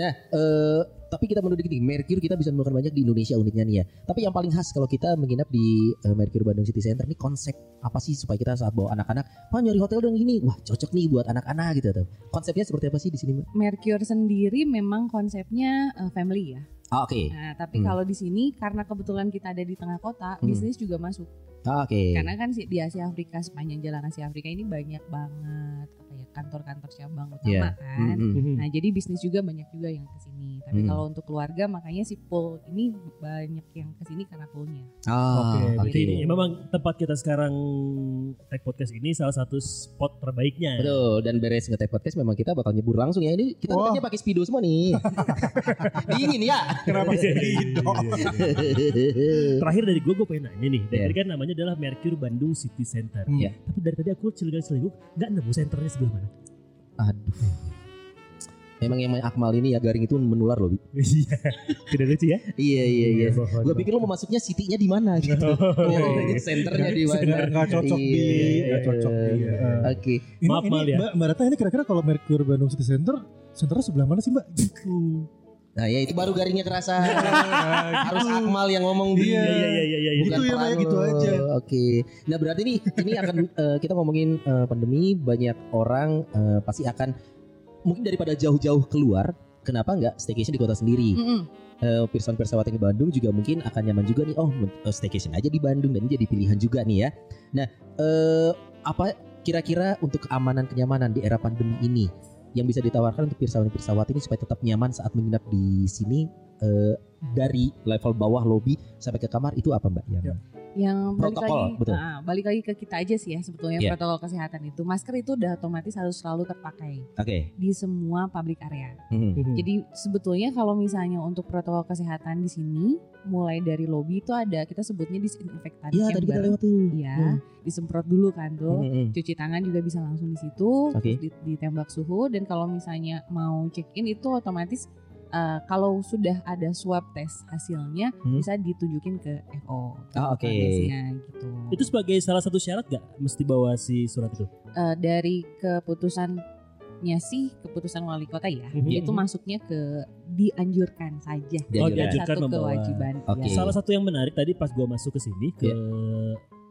Nah, eh tapi kita menurut dikit Mercure kita bisa menemukan banyak di Indonesia unitnya nih ya. Tapi yang paling khas kalau kita menginap di eh, Mercure Bandung City Center ini konsep apa sih supaya kita saat bawa anak-anak, "Pak, nyari hotel dong ini." Wah, cocok nih buat anak-anak gitu tuh. Konsepnya seperti apa sih di sini, Mbak? Mercure sendiri memang konsepnya eh, family ya. Ah, oke. Nah, tapi Hmm. kalau di sini karena kebetulan kita ada di tengah kota, Hmm. bisnis juga masuk. Ah, oke. Karena kan si- di Asia Afrika sepanjang jalan Asia Afrika ini banyak banget apa ya kantor-kantor cabang utama Iya. kan. Mm-mm. Nah, jadi bisnis juga banyak juga yang ke sini. Tapi Hmm. kalau untuk keluarga makanya si pool ini banyak yang ke sini karena poolnya. Ah, Oke, oke. Berarti ini memang tempat kita sekarang take podcast ini salah satu spot terbaiknya. Betul, dan beres ngetek podcast memang kita bakal nyebur langsung ya. Ini kita Wah. ngeteknya pakai speedo semua nih. Dingin ya. Kenapa sih? Terakhir dari gue, gue pengen nanya nih. Dari Iya. tadi kan namanya adalah Mercure Bandung City Center. Hmm. Iya. Tapi dari tadi aku celigang-celiguk nggak nemu senternya sebelah mana. Aduh. Memang yang main Akmal ini ya garing itu menular loh. Bi. Iya. Tidak lucu ya? Iya iya iya. mohon Gue maaf. pikir lu mau masuknya city-nya di mana gitu. Oh. Centernya di mana? Sebenarnya nggak cocok di, Iya, nggak cocok di. iya. eh, Oke. Ini, Maaf, ini, Mal, ya. Mbak, Mbak Rata ini kira-kira kalau Mercure Bandung City Center, senternya sebelah mana sih Mbak? Gitu. Nah ya itu baru garingnya kerasa. Harus Akmal yang ngomong di. Iya, Iya. iya, iya, iya. iya. Bukan Itu ya, peran kayak gitu lo. aja. Oke. Nah, berarti nih ini akan eh, kita ngomongin eh, pandemi banyak orang eh, pasti akan mungkin daripada jauh-jauh keluar, kenapa nggak staycation di kota sendiri? Mm-mm. Eh, Pirsawan Persawat yang di Bandung juga mungkin akan nyaman juga nih. Oh, men- eh, staycation aja di Bandung dan ini jadi pilihan juga nih ya. Nah, eh, apa kira-kira untuk keamanan kenyamanan di era pandemi ini yang bisa ditawarkan untuk pirsawan-pirsawat ini supaya tetap nyaman saat menginap di sini eh, dari level bawah lobi sampai ke kamar itu apa mbak? Yang Ya. yang balik Protokol, lagi betul. ah, balik lagi ke kita aja sih ya sebetulnya Iya. protokol kesehatan itu masker itu udah otomatis harus selalu terpakai Oke. di semua public area. Mhm. Hmm. Jadi sebetulnya kalau misalnya untuk protokol kesehatan di sini mulai dari lobby itu ada kita sebutnya disinfektan Iya tadi kita chamber. lewat tuh. Iya, Hmm. disemprot dulu kan tuh. Oh. Mhm. Cuci tangan juga bisa langsung di situ, Oke. terus di- ditembak suhu dan kalau misalnya mau check in itu otomatis eh, kalau sudah ada swab test hasilnya Hmm. bisa ditunjukin ke FO. ke Ah, oke. Farmasinya gitu. Itu sebagai salah satu syarat gak mesti bawa si surat itu? eh, dari keputusannya sih keputusan wali kota Iya, ya Hmm. Mhm. itu masuknya ke dianjurkan saja Dianjurkan. Bukan Oh, Dianjurkan satu membawa. kewajiban Iya. Oke. ya. Nah, Salah satu yang menarik tadi pas gua masuk ke sini ke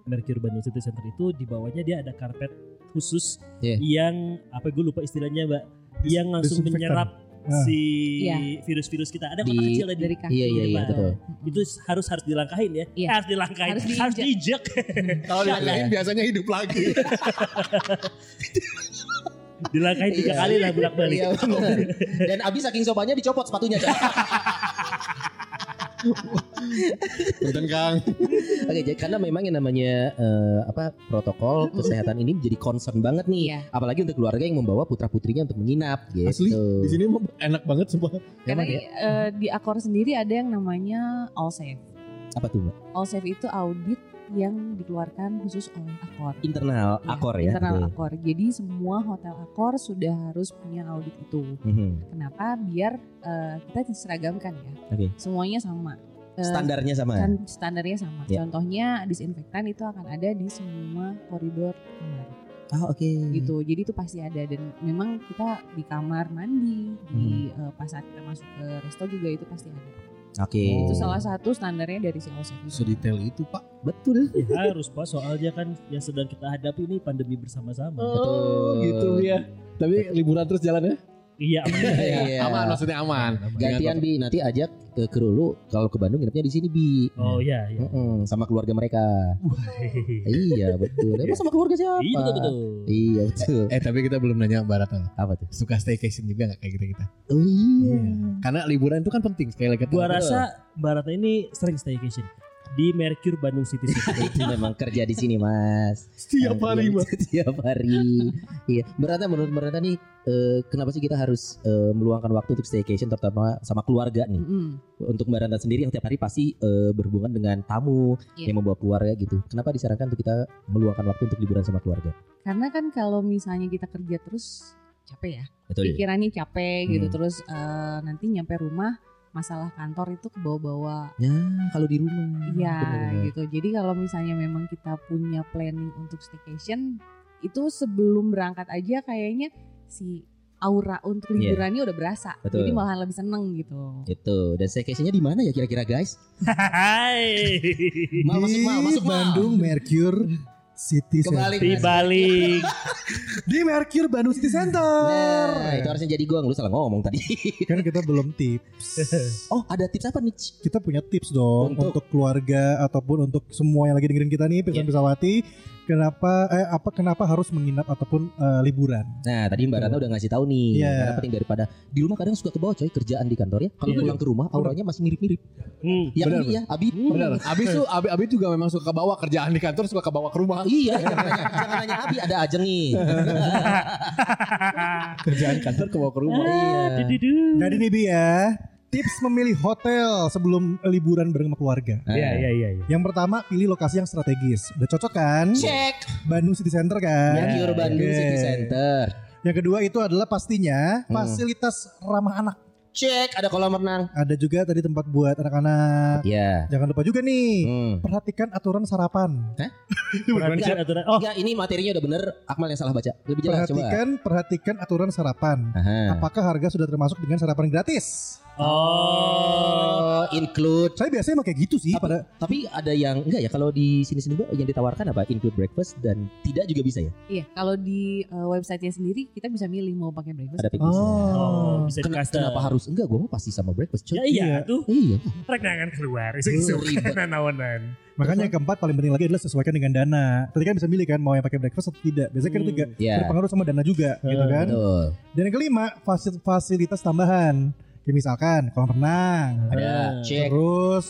Mercure Bandung City Center itu di bawahnya dia ada karpet khusus Iya. yang apa gue lupa istilahnya mbak Dis- yang langsung disinfektan. menyerap Ah. si Iya. virus-virus kita ada Di- kotak kecil tadi dari kaki Iya iya iya Pak. betul. Mm-mm. itu harus harus dilangkahin ya Iya. harus dilangkahin Harus diinjak. harus diinjak Kalau dilangkahin biasanya hidup lagi. dilangkahin tiga Iya. kali lah bolak balik Iya, bener. Dan abis saking sopanya dicopot sepatunya. Cak. Punten Kang. Oke, jadi karena memang yang namanya eh, apa protokol kesehatan ini menjadi concern banget nih, Iya. apalagi untuk keluarga yang membawa putra putrinya untuk menginap gitu. Asli, Di sini emang enak banget semua. Karena Emang ya? eh, di Akor sendiri ada yang namanya All Safe. apa tuh Mbak? All Safe itu audit yang dikeluarkan khusus oleh Akor. Internal Iya, akor ya. Internal betul. Akor. Jadi semua hotel Akor sudah harus punya audit itu. Mhm. Kenapa? Biar eh, kita diseragamkan ya. Oke. Semuanya sama. Eh, Standarnya sama. stan- standarnya sama. Ya. Contohnya disinfektan itu akan ada di semua koridor kamar. Ah oke. gitu jadi itu pasti ada dan memang kita di kamar mandi di Hmm. eh, pas saat kita masuk ke resto juga itu pasti ada Oke. itu salah satu standarnya dari si OSEF itu. Sedetail itu pak. Betul. Ya harus pak soalnya kan yang sedang kita hadapi ini pandemi bersama-sama. Oh gitu ya. Tapi liburan terus jalan ya? Iya. Iya. Aman maksudnya aman. Gantian Dengan- bi nanti ajak ke Kerulu kalau ke Bandung nginepnya di sini bi. Oh iya iya. Mm-mm, sama keluarga mereka. iya betul. Emang sama keluarga siapa? Iya betul betul. Iya betul. Eh tapi kita belum nanya Mbak Ratna loh. Apa tuh? Suka staycation juga gak kayak kita-kita? Oh iya. Karena liburan itu kan penting sekali lagi. kata Gua Ratna. rasa Barat ini sering staycation di Mercure Bandung City Center. Itu memang kerja di sini mas. Setiap Eh, hari iya, Mbak. Setiap hari. iya. Berarti menurut Mbak Ratna nih, eh, kenapa sih kita harus eh, meluangkan waktu untuk staycation terutama sama keluarga nih? Mm-mm. Untuk Mbak Ratna sendiri yang tiap hari pasti eh, berhubungan dengan tamu Iya. yang membawa keluarga gitu. Kenapa disarankan untuk kita meluangkan waktu untuk liburan sama keluarga? karena kan kalau misalnya kita kerja terus capek ya Betul. pikirannya capek gitu Iya. Hmm. terus eh, nanti nyampe rumah masalah kantor itu kebawa-bawa Ya kalau di rumah. Iya Bener. gitu jadi kalau misalnya memang kita punya planning untuk staycation itu sebelum berangkat aja kayaknya si aura untuk Iya. liburannya udah berasa Betul. jadi malahan lebih seneng gitu Itu dan staycationnya di mana ya kira-kira guys? Hai. Mal, masuk mal, masuk mal. iya. Bandung Mercure City Kebalik. Center. Di balik. Di Mercure Bandung City Center. Nah, itu harusnya jadi gong. Lu salah ngomong tadi. Kan kita belum tips. Oh, ada tips apa nih? kita punya tips dong Untuk- Iya. untuk, keluarga ataupun untuk semua yang lagi dengerin kita nih pemirsa Pisawati kenapa eh apa kenapa harus menginap ataupun eh, liburan Nah, tadi Mbak Ratna udah ngasih tahu nih. Iya. Karena penting daripada di rumah kadang suka ke bawah coy kerjaan di kantor ya. Kalau Iya. pulang ke rumah auranya masih mirip-mirip. Hmm. Ya Benar, ini ya, Abi. Benar. Abis tuh Abi, Abi juga memang suka bawa kerjaan di kantor suka kebawa ke rumah. Iya, jangan nanya, jangan nanya Abi ada Ajeng nih. kerjaan kantor kebawa ke rumah. Iya. Ah, dududu. jadi nih Bi ya tips memilih hotel sebelum liburan bareng sama keluarga Nah, Iya iya iya. iya. yang pertama pilih lokasi yang strategis udah cocok kan Cek. Bandung City Center kan Iya. Mercure Bandung Oke. City Center. yang kedua itu adalah pastinya Hmm. fasilitas ramah anak Cek ada kolam renang. ada juga tadi tempat buat anak-anak Iya. jangan lupa juga nih Hmm. perhatikan aturan sarapan Perhatikan aturan. Oh Ya ini materinya udah bener Akmal yang salah baca Lebih jelas coba Nah. perhatikan perhatikan aturan sarapan Aha. apakah harga sudah termasuk dengan sarapan gratis? oh. Oh, include. Saya biasanya pakai gitu sih. Apa? Pada Tapi ada yang enggak ya kalau di sini-sini Mbak, yang ditawarkan apa? Include breakfast dan tidak juga bisa ya? Iya, kalau di eh, websitenya sendiri kita bisa milih mau pakai breakfast. Ada pilihan. Oh, Oh. bisa Ken- di-custom. kenapa harus enggak? Gue mau pasti sama breakfast. Coy. Ya iya Iya. tuh. Iya. Rekanangan keluar. isu-isu, Ribet. naonan. Makanya yang keempat paling penting lagi adalah sesuaikan dengan dana. Tadi kan bisa milih kan mau yang pakai breakfast atau tidak. Biasanya kan itu Hmm. juga Iya. berpengaruh sama dana juga gitu kan. Betul. Dan yang kelima fasil- fasilitas tambahan. Kayak misalkan kolam renang, ya. Ada Ah, Iya, cek terus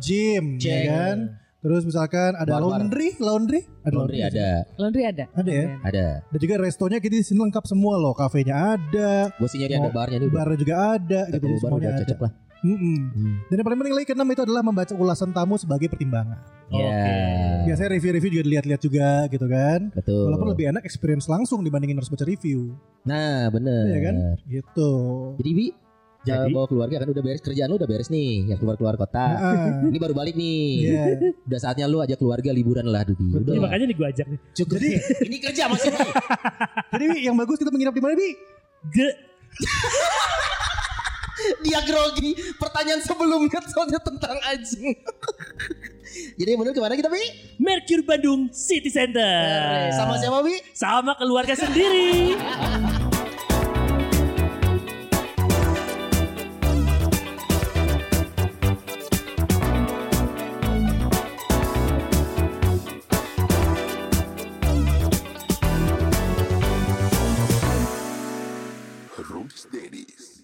gym, ya Cek. kan. Terus misalkan ada Bar-bar. laundry, laundry, ada laundry ada, Laundry ada. Ada ya? ada. Dan juga restonya kita di sini lengkap semua loh. Kafenya ada, Gue sih nyari ada Mau- barnya nih udah. barnya juga ada, Kita perlu gitu jadi bar semuanya udah ada. cocok Hmm. lah. Mm-mm. Dan yang paling penting lagi keenam itu adalah membaca ulasan tamu sebagai pertimbangan. Iya. Biasanya review-review juga dilihat-lihat juga gitu kan. Betul. Walaupun lebih enak experience langsung dibandingin harus baca review Nah, bener. Iya kan? gitu. Jadi Bi, Jadi? Jadi? bawa keluarga kan udah beres kerjaan lu udah beres nih yang keluar keluar kota Ah, ini baru balik nih Iya. udah saatnya lu ajak keluarga liburan lah Dudi Betul. udah Ini lah. makanya nih gue ajak nih. cukup Jadi- ini kerja masih Bi. Jadi Bi, yang bagus kita menginap di mana Bi? Ge dia grogi pertanyaan sebelumnya soalnya tentang anjing jadi yang bener kemana kita bi Mercure Bandung City Center. sama siapa bi Iya, Sama keluarga sendiri. Roots Dennis.